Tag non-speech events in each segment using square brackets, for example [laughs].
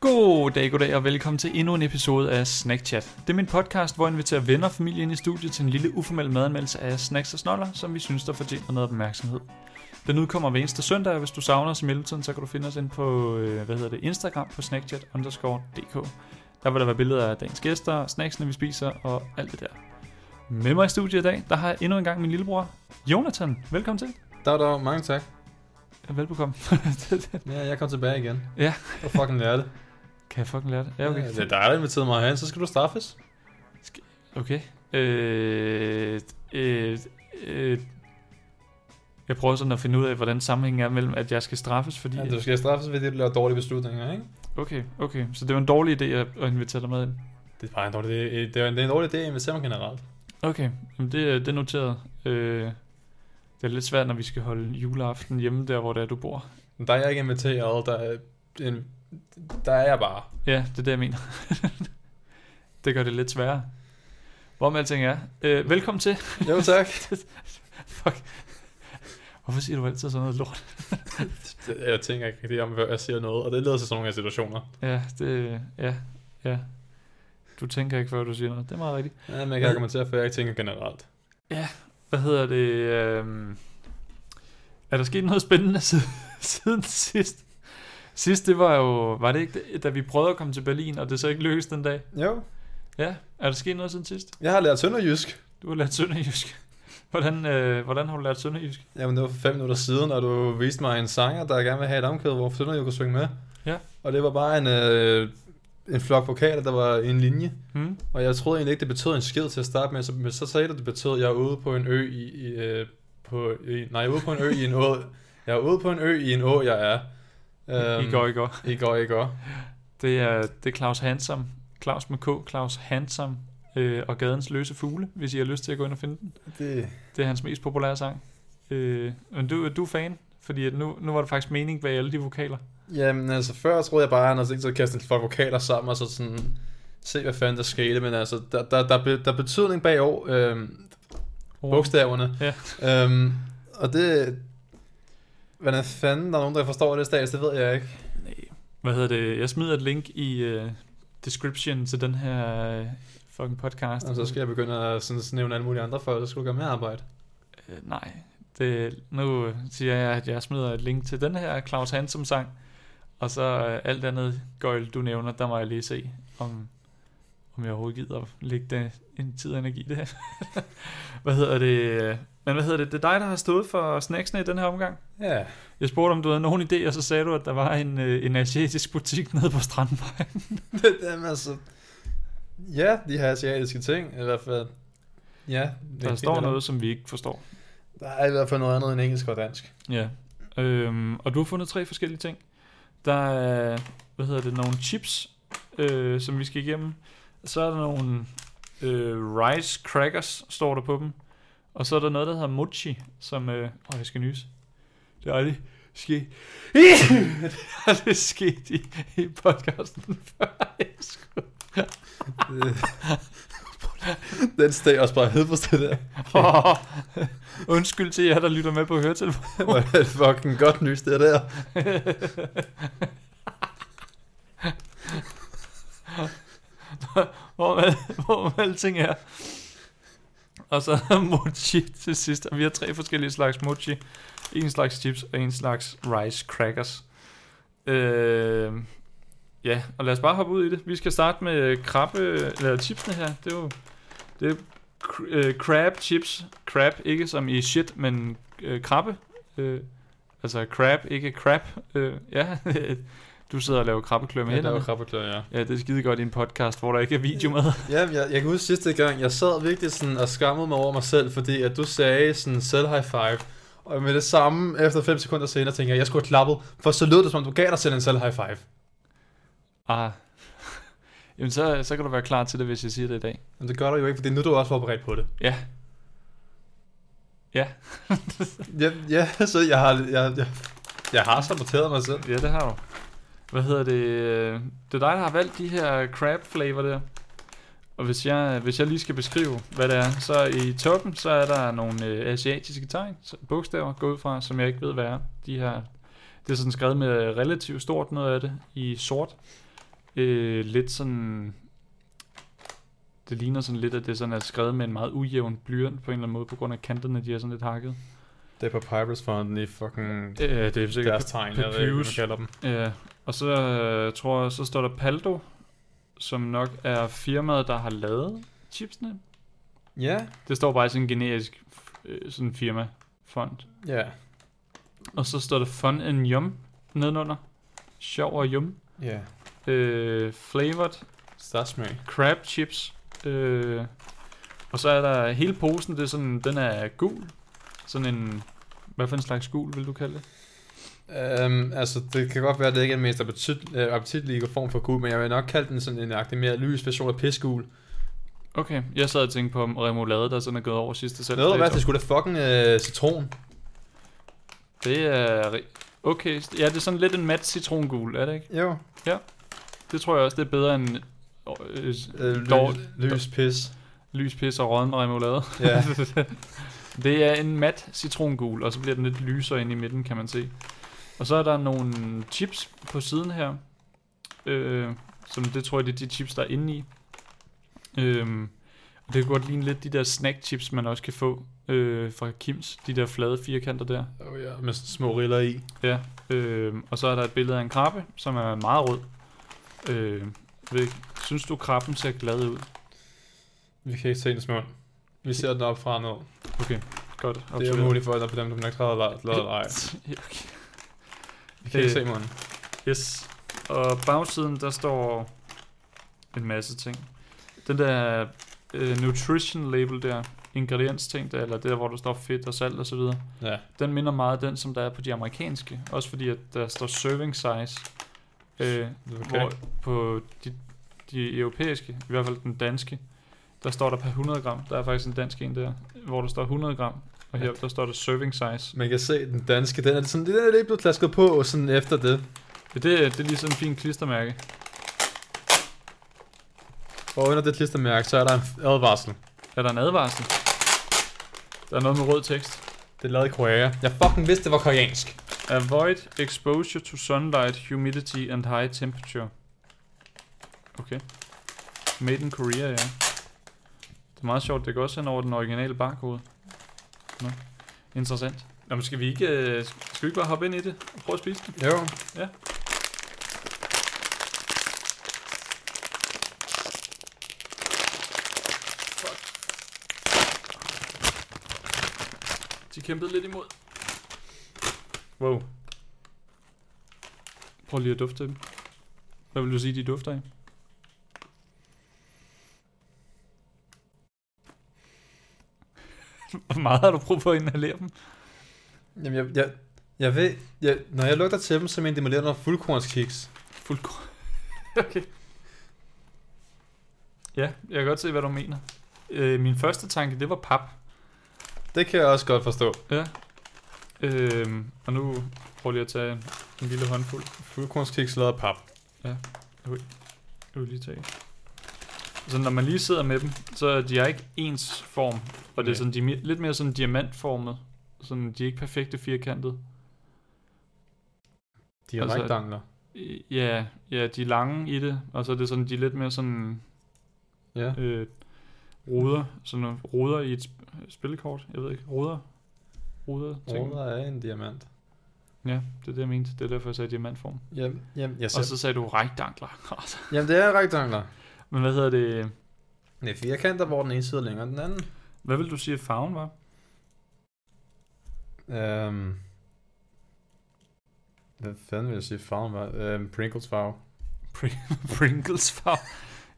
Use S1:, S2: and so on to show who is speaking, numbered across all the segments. S1: Goddag, goddag og velkommen til endnu en episode af Snack Chat. Det er min podcast, hvor jeg inviterer venner og familie ind i studiet til en lille uformel madanmeldelse af snacks og snoller, som vi synes, der fortjener noget opmærksomhed. Den udkommer hver eneste søndag, og hvis du savner os i mellemtiden, så kan du finde os ind på øh, hvad hedder det, Instagram på snackchat underscore dk. Der vil der være billeder af dagens gæster, snacksene vi spiser og alt det der. Med mig i studiet i dag, der har jeg endnu en gang min lillebror, Jonathan. Velkommen til.
S2: Der der, mange tak.
S1: Velbekomme. [laughs]
S2: Ja, jeg kom tilbage igen.
S1: Ja.
S2: Og fucking lærer det.
S1: kan jeg fucking lære det? Ja, okay.
S2: det er dig, der inviterede mig herhen, så skal du straffes.
S1: Okay. Øh, øh, øh, jeg prøver sådan at finde ud af, hvordan sammenhængen er mellem, at jeg skal straffes, fordi...
S2: Ja, du skal straffes, fordi du laver dårlige beslutninger, ikke?
S1: Okay, okay. Så det var en dårlig idé at at invitere dig med ind.
S2: Det er bare en dårlig idé. Det er en, det er en dårlig idé at invitere mig generelt.
S1: Okay, jamen det, er- det er noteret. Øh, det er lidt svært, når vi skal holde juleaften hjemme der, hvor det er, du bor.
S2: Men der er jeg ikke inviteret, der er, en, der er jeg bare.
S1: Ja, det er det, jeg mener. [laughs] det gør det lidt sværere. Hvor med alting er. Øh, velkommen til.
S2: Jo tak.
S1: Fuck. Hvorfor siger du altid sådan noget lort?
S2: [laughs] jeg tænker ikke rigtig om, hvad jeg siger noget, og det leder til sådan nogle her situationer.
S1: Ja, det... Ja, ja. Du tænker ikke, før du siger noget. Det er meget rigtigt.
S2: Ja, men jeg kan argumentere for, at jeg ikke tænker generelt.
S1: Hvad hedder det? Øh, er der sket noget spændende [laughs] siden, siden sidst? Sidst, det var jo... Var det ikke, da vi prøvede at komme til Berlin, og det så ikke lykkedes den dag?
S2: Jo,
S1: Ja, er der sket noget siden sidst?
S2: jeg har lært sønderjysk.
S1: Du har lært sønderjysk. [laughs] Hvordan, øh, hvordan har du lært sønderjysk?
S2: Jamen det var for fem minutter siden, og du viste mig en sanger, der gerne vil have et omkød, hvor Sønderjysk kunne synge med.
S1: Ja.
S2: Og det var bare en, øh, en flok vokaler, der var i en linje.
S1: Hmm?
S2: Og jeg troede egentlig ikke, det betød en skid til at starte med, så, men så sagde du, det betød, at jeg er ude på en ø i... i øh, på, i nej, jeg er ude på en ø i en å. Jeg er ude på en ø i en å, jeg er. Øhm,
S1: Um, I går, i går.
S2: I går, i går.
S1: Det er, det er Claus Hansom. Claus med K. Claus Hansom. Øh, og Gadens Løse Fugle, hvis I har lyst til at gå ind og finde den.
S2: Det,
S1: Det er hans mest populære sang. Øh, men du, du er fan, fordi at nu, nu var der faktisk mening bag alle de vokaler.
S2: jamen altså, før troede jeg bare, at han havde tænkt sig at kaste en flok vokaler sammen, og så sådan... Se, hvad fanden der skete, men altså, der, der, der, be- der er betydning bag år, øh, bogstaverne.
S1: Ja.
S2: Øhm, og det... Hvordan fanden der er nogen, der forstår det stads, det ved jeg ikke.
S1: Nej. Hvad hedder det? Jeg smider et link i øh, description til den her øh, fucking podcast.
S2: Og så skal jeg begynde at sådan, nævne alle mulige andre folk, så skulle du gøre mere arbejde.
S1: Øh, nej. Det, nu øh, siger jeg, at jeg smider et link til den her Claus Hansom sang. Og så øh, alt andet gøjl, du nævner, der må jeg lige se, om, om jeg overhovedet gider at lægge det, en tid og energi i det [laughs] her. hvad hedder det? øh, Men hvad hedder det? Det er dig, der har stået for snacksene i den her omgang.
S2: Ja,
S1: Jeg spurgte, om du havde nogen idé, og så sagde du, at der var en, øh, en asiatisk butik nede på Strandvejen.
S2: [laughs] Jamen, altså... Ja, de her asiatiske ting, i hvert fald. Ja, det er
S1: Der
S2: fint,
S1: står
S2: eller-
S1: noget, som vi ikke forstår.
S2: Der er i hvert fald noget andet end engelsk og dansk. [laughs]
S1: Ja. Øhm, og du har fundet tre forskellige ting. Der er, hvad hedder det, nogle chips, øh, som vi skal igennem. Så er der nogle øh, rice crackers, står der på dem. Og så er der noget, der hedder mochi, som... Øh, åh, jeg skal nyse. Det er aldrig sket. [laughs] det er aldrig sket i, i podcasten før. Jeg skulle-
S2: Den steg også bare hed på det
S1: [laughs]
S2: der.
S1: Åh, Undskyld til jer, der lytter med på høretelefoner.
S2: Hvor er det fucking godt nys, det der.
S1: hvor, al- hvor alting er. Og så [laughs] mochi til sidst. Og vi har tre forskellige slags mochi. En slags chips og en slags rice crackers. Øh, ja, og lad os bare hoppe ud i det. Vi skal starte med krabbe, eller chipsene her. Det er jo det er cr- øh, crab chips. Crab, ikke som i shit, men øh, krabbe. Øh, altså crab, ikke crab. Øh, ja, [laughs] du sidder og laver krabbeklør med
S2: Ja, der
S1: hænderne.
S2: var krabbeklør, ja.
S1: Ja, det er skide godt i en podcast, hvor der ikke er video med.
S2: Ja, jeg, jeg kan huske sidste gang, jeg sad virkelig sådan og skammede mig over mig selv, fordi at du sagde sådan selv high five. Og med det samme, efter 5 sekunder senere, tænkte jeg, jeg skulle have klappet, for så lød det som om, du gav dig selv en selv high five.
S1: Ah. [laughs] Jamen, så, så kan du være klar til det, hvis jeg siger det i dag.
S2: Men det gør du jo ikke, fordi nu er du også forberedt på det.
S1: Ja. Ja.
S2: Ja, ja så jeg har, jeg, jeg, jeg har saboteret mig selv.
S1: Ja, det har du. Hvad hedder det? øh, Det er dig, der har valgt de her crab flavor der. Og hvis jeg, hvis jeg lige skal beskrive, hvad det er, så i toppen, så er der nogle øh, asiatiske tegn, så- bogstaver, gå ud fra, som jeg ikke ved, hvad er. De her, det er sådan skrevet med relativt stort noget af det i sort. øh, lidt sådan... Det ligner sådan lidt, at det sådan er skrevet med en meget ujævn blyant på en eller anden måde, på grund af kanterne, de er sådan lidt hakket.
S2: Det er på Pirates Fonden i fucking
S1: Øh, det er sikkert
S2: deres tegn, jeg ved ikke, hvad man
S1: papyrus.
S2: kalder dem.
S1: Ja, og så øh, tror jeg, så står der Paldo, som nok er firmaet, der har lavet chipsene.
S2: Ja,
S1: Det står bare i sådan en generisk øh, sådan firma fond.
S2: ja,
S1: Og så står der Fun and Yum nedenunder. Sjov og yum.
S2: ja.
S1: Øh, flavored
S2: Statsmag.
S1: crab chips. Øh, og så er der hele posen, det er sådan, den er gul. Sådan en, hvad for en slags gul vil du kalde det?
S2: Um, altså, det kan godt være, at det ikke er den mest appetit, øh, appetitlige form for gul, men jeg vil nok kalde den sådan en agtig mere lys version af pisgul.
S1: Okay, jeg sad og tænkte på om remoulade, der sådan er gået over sidste selv.
S2: Noget af det værste skulle da fucking øh, citron.
S1: Det er... ri- Okay, ja, det er sådan lidt en mat citrongul, er det ikke?
S2: Jo.
S1: Det tror jeg også, det er bedre end øh,
S2: Øh, lys,
S1: Dår-
S2: lys pis.
S1: lys, pis og rådden remoulade.
S2: Ja.
S1: [laughs] det er en mat citrongul, og så bliver den lidt lysere inde i midten, kan man se. Og så er der nogle chips på siden her, øh, som det tror jeg, det er de chips, der er inde i. Øhm, og det kan godt ligne lidt de der snackchips, man også kan få øh, fra Kims, de der flade firkanter der.
S2: Oh, ja. Med sådan små riller i.
S1: Ja, øh, og så er der et billede af en krabbe, som er meget rød. Øh, jeg ved ikke, synes du, krabben ser glad ud?
S2: Vi kan ikke se hendes mund. Vi ser den op fra og ned.
S1: Okay, godt.
S2: Det er
S1: observeret.
S2: umuligt for, at der er på dem, der nok træder eller eller ej.
S1: Ja, okay.
S2: Vi kan ikke
S1: Øh.
S2: se munden.
S1: [laughs] Yes. Og bagsiden, der står en masse ting. Den der øh, nutrition label der, ingrediensting der, eller der, hvor der står fedt og salt og så videre,
S2: Ja.
S1: den minder meget af den, som der er på de amerikanske. Også fordi, at der står serving size. Øh,
S2: Okay.
S1: Okay. Hvor på de, de europæiske, i hvert fald den danske, der står der per 100 gram. Der er faktisk en dansk en der, hvor der står 100 gram. Og her, der står der serving size.
S2: Man kan se den danske, den er sådan, den er lige blevet klasket på sådan efter det.
S1: Ja, det, det er lige sådan en fin klistermærke.
S2: Og under det klistermærke, så er der en advarsel.
S1: Er der en advarsel? Der er noget med rød tekst.
S2: Det er lavet i Korea. Jeg fucking vidste, det var koreansk.
S1: Avoid exposure to sunlight, humidity and high temperature. Okay. Made in Korea, ja. Det er meget sjovt, det går også hen over den originale barcode. Nå. Interessant. Nå, men skal vi ikke, øh, skal vi ikke bare hoppe ind i det og prøve at spise det?
S2: Jo.
S1: Ja. De kæmpede lidt imod. Wow. Prøv lige at dufte dem. Hvad vil du sige, de dufter af? [laughs] Hvor meget har du brug for at inhalere dem?
S2: Jamen, jeg, jeg, jeg ved, jeg, når jeg lugter til dem, så mener de, man noget fuldkornskiks.
S1: Fuldkorn. [laughs] okay. Ja, jeg kan godt se, hvad du mener. Øh, min første tanke, det var pap.
S2: Det kan jeg også godt forstå.
S1: Ja. Øh, og nu prøver jeg lige at tage en, en lille håndfuld.
S2: Fuldkornskiks lavet af pap.
S1: Jeg vil lige tage. Så når man lige sidder med dem, så er de er ikke ens form. Og det er
S2: Nej.
S1: sådan, de er mere- lidt mere sådan diamantformet. Sådan, de er ikke perfekte firkantet.
S2: De
S1: Altså-
S2: har altså, rektangler.
S1: Øh, Ja, ja, de er lange i det, og så er det sådan, de er lidt mere sådan
S2: Ja.
S1: øh, ruder, sådan nogle ruder i et sp- spillekort, jeg ved ikke, ruder, ruder, ting.
S2: Ruder er en diamant.
S1: Ja, det er det, jeg mente, det er derfor, jeg sagde diamantform.
S2: Jamen, jamen, jeg
S1: Og
S2: ser.
S1: så sagde du rektangler. [laughs]
S2: jamen det er rektangler.
S1: Men hvad hedder det,
S2: Det er firkanter, hvor den ene side er længere end den anden.
S1: hvad vil du sige, at farven var? [laughs]
S2: Øhm, hvad fanden vil jeg sige farven var? Øhm, Pringles farve.
S1: Pringles farve.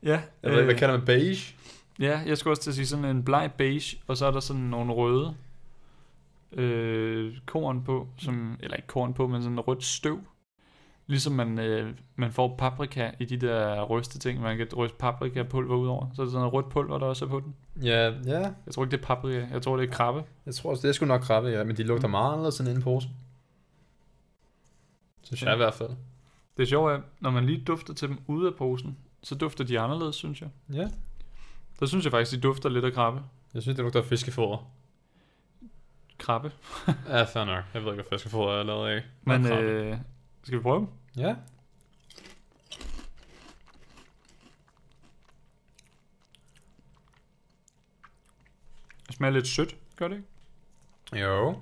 S1: ja,
S2: Jeg ved ikke, hvad kalder man beige?
S1: ja, jeg skulle også til at sige sådan en bleg beige, og så er der sådan nogle røde øh, korn på, som, eller ikke korn på, men sådan rødt støv. Ligesom man, øh, man får paprika i de der ryste ting, man kan ryste paprikapulver ud over. Så er der sådan noget rødt pulver, der også er på den.
S2: Ja, ja.
S1: Jeg tror ikke, det er paprika. Jeg tror, det er krabbe.
S2: Jeg tror også, det er sgu nok krabbe, ja. Men de lugter meget anderledes end inde i posen. Synes
S1: Ja.
S2: jeg i hvert fald.
S1: Det sjove er, når man lige dufter til dem ude af posen, så dufter de anderledes, synes jeg.
S2: Ja.
S1: Der synes jeg faktisk, de dufter lidt af krabbe.
S2: Jeg synes, det lugter af fiskefoder.
S1: Krabbe.
S2: ja, fair nok. Jeg ved ikke, hvad fiskefoder er lavet af.
S1: Men
S2: krabbe.
S1: øh, skal vi prøve dem?
S2: Ja.
S1: Det smager lidt sødt, gør det ikke?
S2: Jo.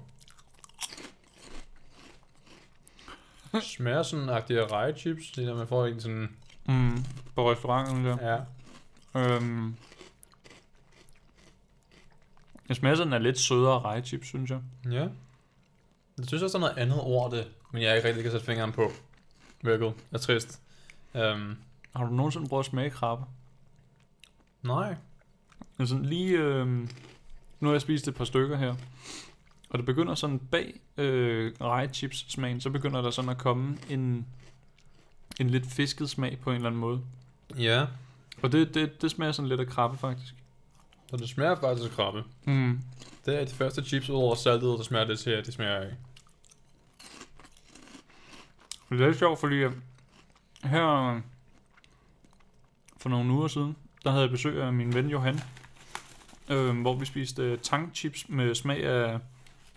S2: Smager sådan agtige rejechips, det der man får en sådan,
S1: Mm. På restauranten der.
S2: ja.
S1: Øhm. Jeg smager sådan af lidt sødere rejchips, synes jeg.
S2: Ja. Jeg synes også, der er noget andet ord det, men jeg ikke rigtig kan sætte fingeren på. Hvilket er trist. Um,
S1: Har du nogensinde prøvet at smage krabbe?
S2: nej.
S1: Men sådan lige... øhm, nu har jeg spist et par stykker her. Og det begynder sådan bag øh, rejechips smagen, så begynder der sådan at komme en, en lidt fisket smag på en eller anden måde.
S2: Ja,
S1: Og det, det, det smager sådan lidt af krabbe, faktisk.
S2: så det smager faktisk af krabbe.
S1: Mm.
S2: Det er de første chips udover saltet, der smager det her, de smager af.
S1: Det er lidt sjovt, fordi at her for nogle uger siden, der havde jeg besøg af min ven Johan, øh, hvor vi spiste øh, tangchips med smag af,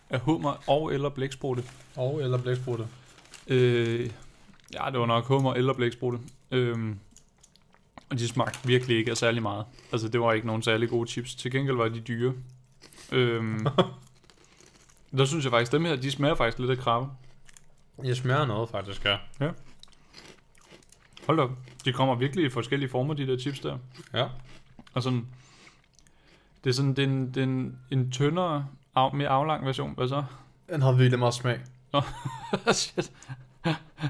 S1: af hummer og eller blæksprutte.
S2: Og eller blæksprutte.
S1: Øh, ja, det var nok hummer eller blæksprutte. Øh, og de smagte virkelig ikke af særlig meget. Altså, det var ikke nogen særlig gode chips. Til gengæld var de dyre. Øh, der synes jeg faktisk, dem her, de smager faktisk lidt af krabbe.
S2: Jeg smager noget faktisk, ja.
S1: Hold da op. De kommer virkelig i forskellige former, de der chips der.
S2: Ja.
S1: Og sådan, det er sådan, det er en, det er en, en tyndere, af, mere aflang version. Hvad så?
S2: Den har virkelig meget smag.
S1: Shit.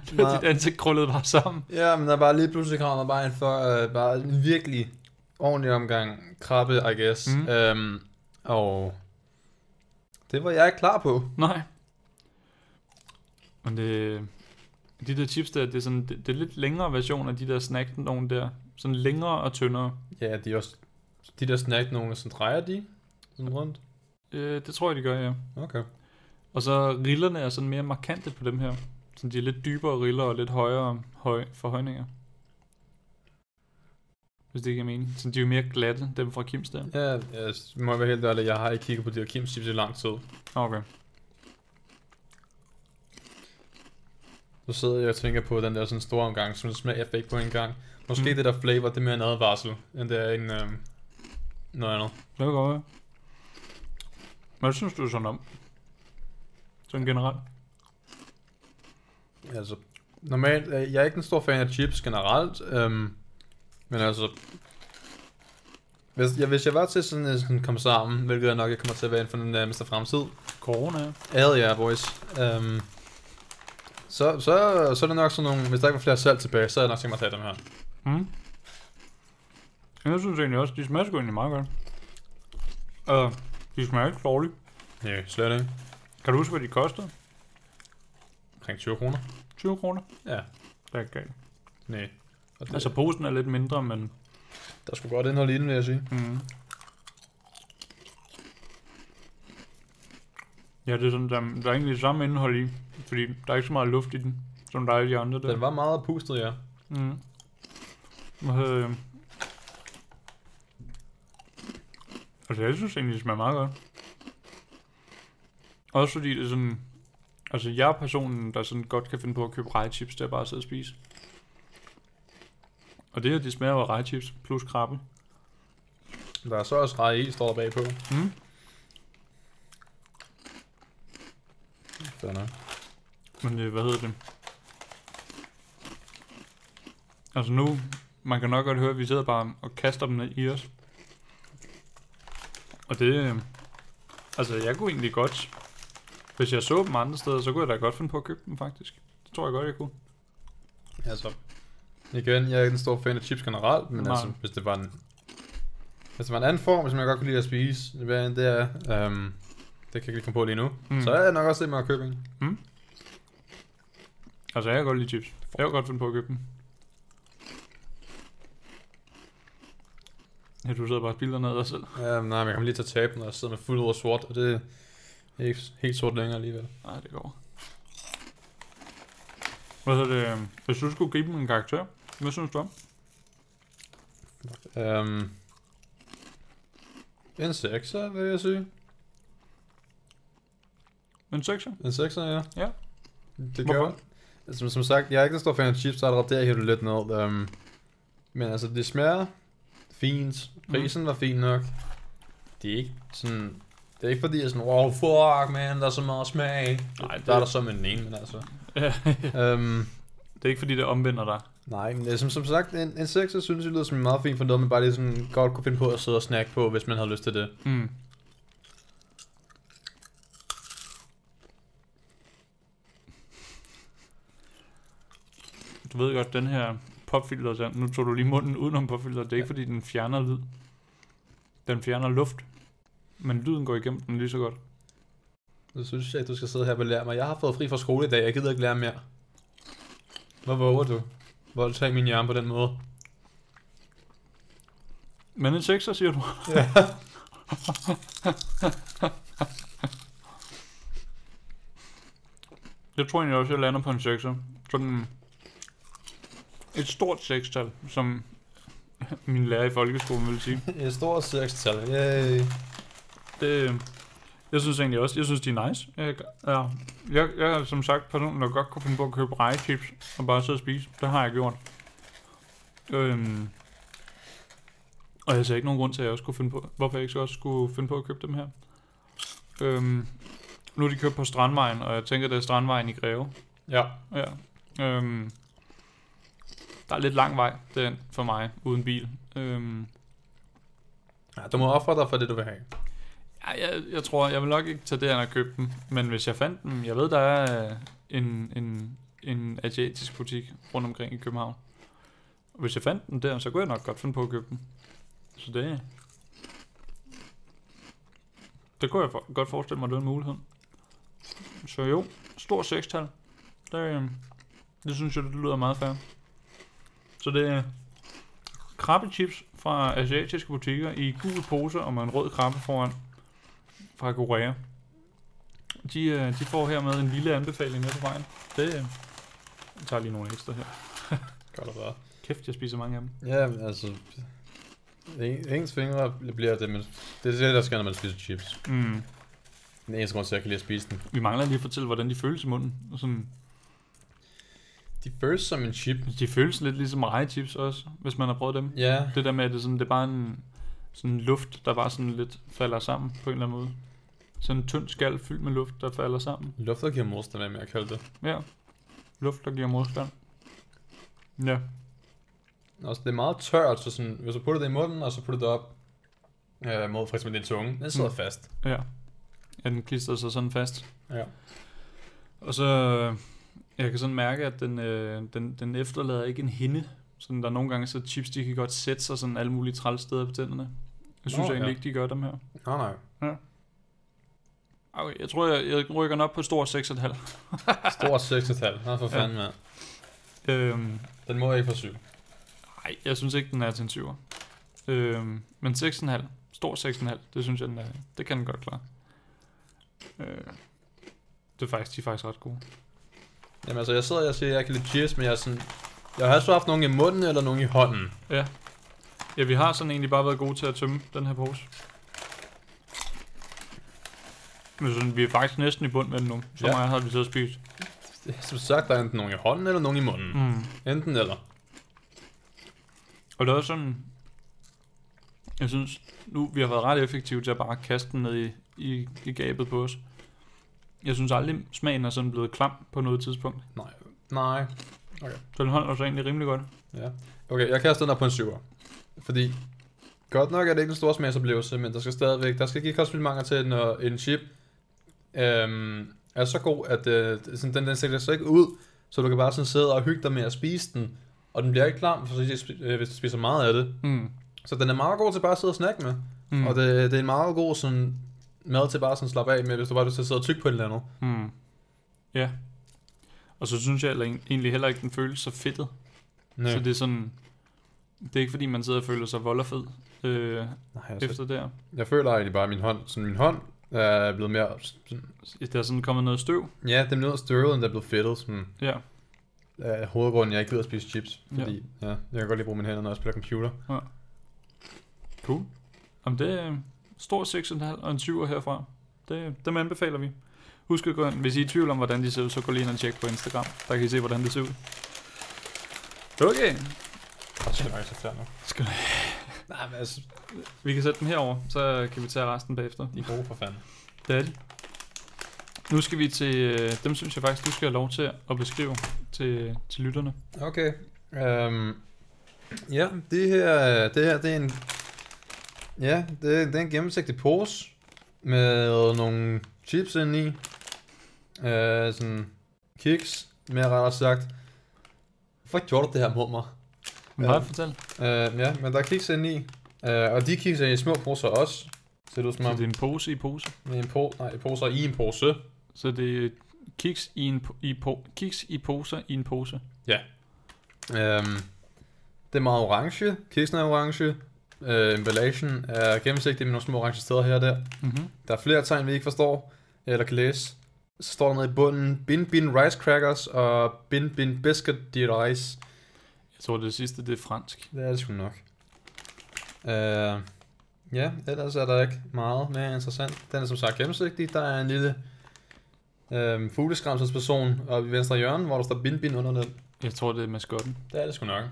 S1: Det var
S2: Nej.
S1: dit ansigt krøllet bare sammen.
S2: Ja, men der er bare lige pludselig kommer der bare en, for, uh, bare en virkelig ordentlig omgang krabbe, I guess.
S1: Mhm.
S2: Mm. Um, og det var jeg ikke klar på.
S1: Nej. Men det, de der chips der, det er sådan, det, det er lidt længere version af de der snack nogen der. Sådan længere og tyndere.
S2: Ja, de er også... De der snack nogen, sådan drejer de sådan rundt.
S1: Øh, det tror jeg, de gør, ja.
S2: Okay.
S1: Og så rillerne er sådan mere markante på dem her. Så de er lidt dybere riller og lidt højere høj forhøjninger. Hvis det ikke er mening. Så de er jo mere glatte, dem fra Kims der.
S2: Ja, jeg må være helt ærlig, jeg har ikke kigget på de her Kim's chips i lang tid.
S1: Okay.
S2: Så sidder jeg og tænker på den der sådan store omgang, som smager jeg fik på en gang. Måske
S1: Mm.
S2: mm. det der flavor, det er mere en advarsel, end det er en... Øhm, noget andet.
S1: Det er godt, ja. Hvad synes du sådan om? Sådan generelt?
S2: Altså, normalt, øh, jeg er ikke en stor fan af chips generelt, øhm, men altså, hvis jeg, hvis jeg var til sådan en sådan kom sammen, hvilket jeg nok ikke kommer til at være inden for den nærmeste fremtid,
S1: Corona?
S2: havde jeg, boys, øhm, så, så, så er det nok sådan nogle, hvis der ikke var flere salg tilbage, så havde jeg nok tænkt mig at tage dem her.
S1: Mm. Jeg synes egentlig også, de smager sgu egentlig meget godt. Og de smager ikke dårligt.
S2: Nej, slet ikke.
S1: Kan du huske, hvad de kostede?
S2: Omkring 20 kroner.
S1: 20 kroner?
S2: Ja,
S1: Det er ikke galt.
S2: nej. Og det, altså,
S1: Altså posen er lidt mindre, men
S2: der skulle godt indhold i den, vil jeg sige.
S1: Mm. Ja, det er sådan, der, der er egentlig det samme indhold i, fordi der er ikke så meget luft i den, som der er i de andre der.
S2: Den var meget pustet, ja.
S1: Mm. Hvad hedder det? Altså, jeg synes egentlig, det smager meget godt. Også fordi det er sådan... Altså, jeg er personen, der sådan godt kan finde på at købe rejechips, der bare sidder og spise. Og det her, de smager jo af rejechips plus krabbe.
S2: Der er så også rej i, står der bagpå.
S1: Mm.
S2: Fair nok.
S1: Men øh, hvad hedder det? Altså nu, man kan nok godt høre, at vi sidder bare og kaster dem ned i os. Og det, øh, altså jeg kunne egentlig godt, hvis jeg så dem andre steder, så kunne jeg da godt finde på at købe dem faktisk. Det tror jeg godt, jeg kunne.
S2: Altså, igen, jeg er ikke en stor fan af chips generelt,
S1: Nej.
S2: men Nej. altså, hvis det var en... Hvis det var en anden form, som jeg godt kunne lide at spise, hvad end det er, øhm, det kan jeg ikke lige komme på lige nu,
S1: Mm.
S2: mm. så er jeg nok også lidt med købing.
S1: Altså jeg kan godt lide chips. Jeg kan godt finde på at købe dem. Ja, du sidder bare og spilder ned altså. af dig selv.
S2: Øhm, nej, men jeg kommer lige til at tabe den, og jeg sidder med fuld over sort, og det er ikke helt sort længere alligevel.
S1: Nej, det går. Hvad hedder det? Hvis du skulle give dem en karakter, hvad synes du om?
S2: Øhm, en 6'er, vil jeg sige.
S1: En 6'er?
S2: En 6'er, ja.
S1: Ja.
S2: Det
S1: Hvorfor?
S2: gør jeg. Som, som sagt, jeg er ikke en stor fan af chips, så allerede der hæver du lidt ned. Um, men altså, det smager fint. Prisen mm. var fin nok. det er ikke sådan... Det er ikke fordi, jeg er sådan, wow, fuck, man, der er så meget smag. Nej, det...
S1: det-
S2: Der er der så med den ene, men altså... øhm,
S1: [laughs] Det er ikke fordi, det omvender dig.
S2: nej, men det er som, som sagt, en, en sekser synes jeg lyder som en meget fint for noget, man bare lige sådan godt kunne finde på at sidde og snakke på, hvis man har lyst til det.
S1: Mm. Du ved godt, den her popfilter, der, nu tog du lige munden udenom popfilter, det er ikke fordi, den fjerner lyd. Den fjerner luft. Men lyden går igennem den lige så godt.
S2: Nu synes jeg, at du skal sidde her og belære mig. Jeg har fået fri fra skole i dag, jeg gider ikke lære mere. Hvor våger du? Voldtag min hjerne på den [laughs] måde.
S1: Men en sekser, siger du?
S2: Ja.
S1: [laughs] Jeg tror egentlig også, jeg lander på en sekser. Sådan et stort sekstal, som min lærer i folkeskolen ville sige.
S2: Et stort sekstal, yay.
S1: Det, jeg synes egentlig også, jeg synes, de er nice. Jeg, ja, jeg, jeg er som sagt personen, der godt kunne finde på at købe rejechips og bare sidde og spise. Det har jeg gjort. Øhm, og jeg ser ikke nogen grund til, at jeg også kunne finde på, hvorfor jeg ikke også skulle finde på at købe dem her. Øhm, nu er de købt på Strandvejen, og jeg tænker, det er Strandvejen i Greve.
S2: Ja,
S1: Ja. Øhm, der er lidt lang vej den for mig, uden bil. Øhm,
S2: Ja, du må opfordre dig for det, du vil have.
S1: Ja, jeg, jeg tror, jeg vil nok ikke tage derhen og købe dem, men hvis jeg fandt dem, jeg ved, der er øh, en, en, en asiatisk butik rundt omkring i København. Og hvis jeg fandt dem der, så kunne jeg nok godt finde på at købe dem. Så det Det kunne jeg for, godt forestille mig, det var en mulighed. Så jo, stor sekstal. Det, øh, det synes jeg, det lyder meget fair. Så det er krabbechips fra asiatiske butikker i gul pose og med en rød krabbe foran fra Korea. De, øh, de får hermed en lille anbefaling med på vejen. Det, øh, jeg tager lige nogle ekstra her.
S2: Godt og bare.
S1: Kæft, jeg spiser mange af dem.
S2: Ja, men altså... en- Ens fingre bliver det, men det er det, der sker, når man spiser chips.
S1: Mm.
S2: Den eneste grund til, at jeg kan lide at spise den.
S1: Vi mangler lige at fortælle, hvordan de føles i munden. Og Sådan,
S2: De føles som en chip.
S1: de føles lidt ligesom rejechips også, hvis man har prøvet dem.
S2: Ja,
S1: Det der med, at det, er sådan, det er bare en sådan luft, der bare sådan lidt falder sammen på en eller anden måde. Sådan en tynd skal fyldt med luft, der falder sammen.
S2: lufter giver modstand, hvad jeg mere kalde det.
S1: Ja. Luft, der giver modstand. Ja.
S2: Også, det er meget tørt, så sådan, hvis du putter det i munden, og så putter det op øh, mod for eksempel din tunge, den sidder
S1: Mm.
S2: fast.
S1: Ja. Ja, den klister sig sådan fast.
S2: Ja.
S1: Og så, øh, jeg kan sådan mærke, at den, øh, den, den efterlader ikke en hinde. Sådan der er nogle gange, så chips, de kan godt sætte sig sådan alle mulige træls steder på tænderne. Jeg synes
S2: Nå,
S1: Nå, egentlig
S2: ja.
S1: ikke, de gør dem her.
S2: Nej, nej.
S1: Okay, jeg tror, jeg, jeg rykker den op på stor 6,5.
S2: Stort 6-tal. Nå, for
S1: Ja.
S2: fanden, mand.
S1: Øhm,
S2: Den må ikke få syg.
S1: nej, jeg synes ikke, den er til en 7'er. Øhm, men 6,5. Stor 6,5. Det synes jeg, den er. Det kan den godt klare. Øh, det er faktisk, de er faktisk ret gode.
S2: Jamen altså, jeg sidder og siger, at jeg kan lide chips, men jeg er sådan... Jeg har altså haft nogen i munden eller nogen i hånden.
S1: Ja. Ja, vi har sådan egentlig bare været gode til at tømme den her pose. Men sådan, vi er faktisk næsten i bund med den nu. Så
S2: Ja.
S1: ja. meget har vi så spist.
S2: Som sagt, der er enten nogen i hånden eller nogen i munden.
S1: Mm.
S2: Enten eller.
S1: Og det er også sådan... Jeg synes, nu vi har været ret effektive til at bare kaste den ned i, i, i gabet på os. Jeg synes aldrig, smagen er sådan blevet klam på noget tidspunkt.
S2: Nej. Nej.
S1: Så den holder sig egentlig rimelig godt.
S2: Ja. Okay, jeg kaster den op på en 7'er. Fordi, godt nok er det ikke en stor smagsoplevelse, men der skal stadigvæk, der skal give kostfilmanger til, når en chip øhm, er så god, at øh, sådan, den, den stikker sig ikke ud, så du kan bare sådan sidde og hygge dig med at spise den, og den bliver ikke klam, for hvis du spi- øh, hvis du spiser meget af det.
S1: Mm.
S2: Så den er meget god til bare at sidde og snakke med,
S1: Mm.
S2: mm. og det, det er en meget god sådan, mad til bare sådan at slappe af med, hvis du bare har lyst til at sidde og tygge på et eller andet.
S1: Mm. Ja. Og så synes jeg heller- egentlig heller ikke, den føles så fedtet.
S2: Nej,
S1: Så det er sådan, det er ikke fordi, man sidder og føler sig vold og fed øh,
S2: Nej, altså,
S1: efter der.
S2: Jeg føler egentlig bare, at min hånd, sådan min hånd er blevet mere... Sådan,
S1: Der er sådan kommet noget støv.
S2: ja, den er blevet støvet, end der er blevet fedtet. Sådan,
S1: Ja,
S2: er hovedgrunden, jeg ikke gider at spise chips. Fordi ja. Ja, jeg kan godt lide at bruge mine hænder, når jeg spiller computer.
S1: cool. Jamen det er en stor 6,5 og en 7 herfra. Det, dem anbefaler vi. Husk at gå ind. Hvis I er i tvivl om, hvordan de ser ud, så gå lige ind og tjek på Instagram. Der kan I se, hvordan det ser ud. Okay.
S2: Jeg skal nok så nu.
S1: Skal
S2: Skal Nej, men altså,
S1: Vi kan sætte dem herover, så kan vi tage resten bagefter.
S2: de er gode for fanden.
S1: Det er de. Nu skal vi til, øh, dem synes jeg faktisk, du skal have lov til at beskrive til, til lytterne.
S2: Okay. Øhm, ja, det her, det her, det er en... Ja, det, det er en gennemsigtig pose med nogle chips inde i. Øh, sådan kiks, mere rettere sagt. Hvorfor gjorde du det her mod mig?
S1: Men
S2: Ja.
S1: bare fortæl.
S2: Øh, ja, men der er kiks inde i. Øh, og de kiks er i små poser også. Ser det ud som
S1: Så
S2: om,
S1: det er en pose i pose.
S2: det er en po- nej, poser i en pose.
S1: Så det er kiks i, en, po- i, po- kiks i poser i en pose.
S2: Øhm, det er meget orange. Kiksen er orange. Øh, emballagen er gennemsigtig med nogle små orange steder her og der.
S1: Mm-hmm.
S2: Der er flere tegn, vi ikke forstår, eller kan læse. Så står der nede i bunden, Bin Bin Rice Crackers og Bin Bin Biscuit de Rice.
S1: Jeg tror, det sidste, det er fransk.
S2: Det er det sgu nok. Øh, ja, ellers er der ikke meget mere interessant. Den er som sagt gennemsigtig. Der er en lille øh, fugleskræmselsperson oppe i venstre hjørne, hvor der står Bin Bin under den.
S1: Jeg tror, det er maskotten.
S2: Det er det sgu nok.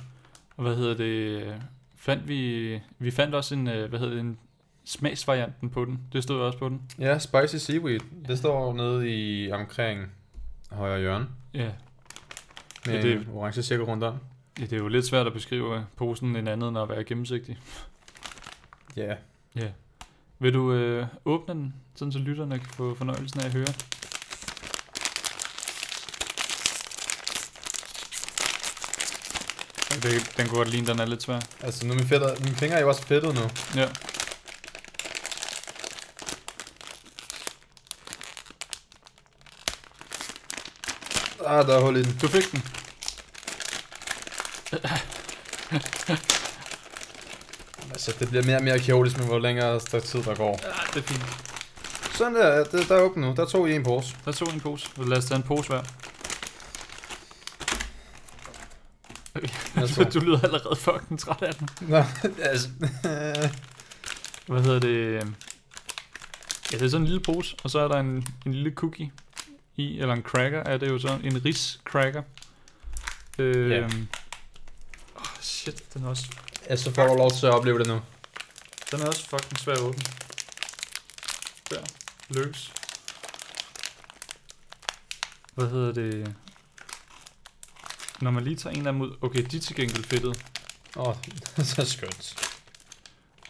S1: Og hvad hedder det? Fandt vi, vi fandt også en, øh, hvad hedder det, en smagsvarianten på den. Det stod også på den.
S2: Ja, Spicy Seaweed. Det står nede i omkring højre hjørne.
S1: Ja,
S2: Med
S1: Ja, det-
S2: en orange cirkel rundt om.
S1: ja det er jo lidt svært at beskrive øh, posen en anden, end at være gennemsigtig.
S2: Ja, yeah.
S1: Vil du øh, åbne den, sådan så lytterne kan få fornøjelsen af at høre? Det, den kunne godt ligne, den er lidt svær.
S2: altså nu er mine, fætter, mine fingre er jo også fedtet nu.
S1: Ja.
S2: Ah, der er hul i den.
S1: Du fik den.
S2: [laughs] Altså, det bliver mere og mere kaotisk med, hvor længere der tid der går.
S1: Ja, det er fint.
S2: Sådan der, det, der er åbent nu. Der tog I en pose.
S1: Der tog en pose. Lad os tage en pose hver.
S2: Jeg
S1: [laughs]
S2: tog-
S1: Du lyder allerede fucking træt af den.
S2: Nå, [laughs] altså...
S1: Hvad hedder det? Ja, det er sådan en lille pose, og så er der en, en lille cookie i, eller en cracker er det jo så. En riscracker. Øh,
S2: Ja.
S1: oh, shit, den er, også,
S2: altså får du lov til at opleve det nu.
S1: den er også fucking svær at åbne. Der, løs. Hvad hedder det? Når man lige tager en af dem ud, okay, de er til gengæld fedtede.
S2: Åh, [laughs] oh, så skønt.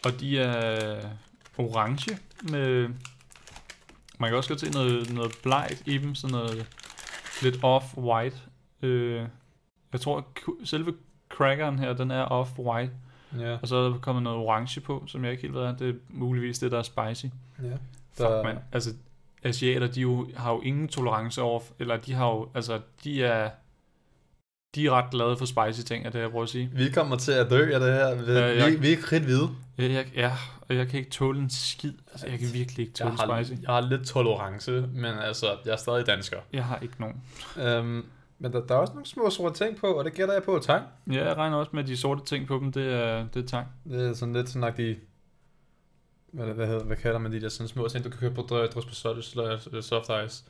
S1: Og de er orange med... Man kan også godt se noget, noget blegt i dem, sådan noget lidt off-white. Øh, jeg tror, at ku- selve crackeren her, den er off-white.
S2: Ja,
S1: Og så er der kommet noget orange på, som jeg ikke helt ved er. Det er muligvis det, der er spicy.
S2: ja.
S1: Fuck, man. Altså, asiater, de jo, har jo ingen tolerance over... Eller de har jo... Altså, de er... De er ret glade for spicy ting, er det, jeg prøver at sige.
S2: Vi kommer til at dø af det her. Vi,
S1: Ja, jeg-
S2: vi, vi er ikke rigtig hvide.
S1: Jeg, jeg, ja, og jeg kan ikke tåle en skid. Altså, jeg kan virkelig ikke tåle spicy.
S2: jeg har lidt tolerance, men altså, jeg er stadig dansker.
S1: Jeg har ikke nogen.
S2: Øhm, men der, der er også nogle små sorte ting på, og det gætter jeg på tang.
S1: Ja, jeg regner også med, at de sorte ting på dem, det er, det er tang.
S2: Det er sådan lidt sådan nok de... Hvad, hvad, hedder, hvad kalder man de der sådan små ting, du kan købe på dr- drys på sol, eller øh, soft ice,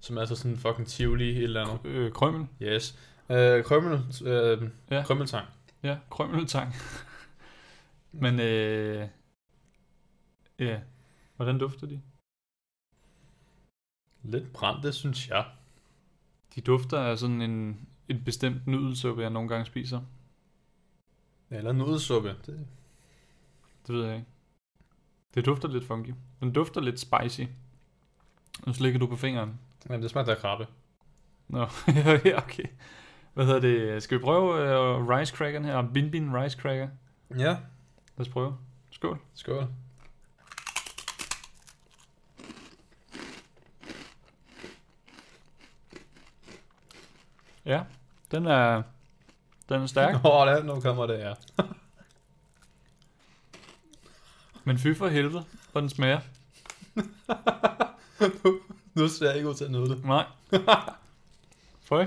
S2: som er altså sådan fucking tivoli et eller andet.
S1: Øh, krømmel.
S2: Yes. Øh, krømmel, øh,
S1: Ja.
S2: ja. krømmeltang.
S1: Ja, krømmeltang. [laughs] Men, øh, ja. Hvordan dufter de?
S2: Lidt brændte, synes jeg.
S1: De dufter af sådan en, en bestemt nudelsuppe, jeg nogle gange spiser.
S2: Eller nudelsuppe. Det,
S1: Det ved jeg ikke. Det dufter lidt funky. Den dufter lidt spicy. Nu slikker du på fingeren.
S2: jamen, det smagte af krabbe.
S1: Nå, [laughs] ja, okay. Hvad hedder det? Skal vi prøve øh, ricecrackeren her? Bin Bin ricecracker.
S2: Ja.
S1: Lad os prøve. Skål.
S2: Skål.
S1: Ja, den er, den er
S2: [laughs]
S1: stærk.
S2: Åh, oh, der, nu kommer det, ja.
S1: Men fy for helvede, hvor den smager.
S2: Nu ser jeg ikke ud til at nyde det. [laughs]
S1: Nej. Føj.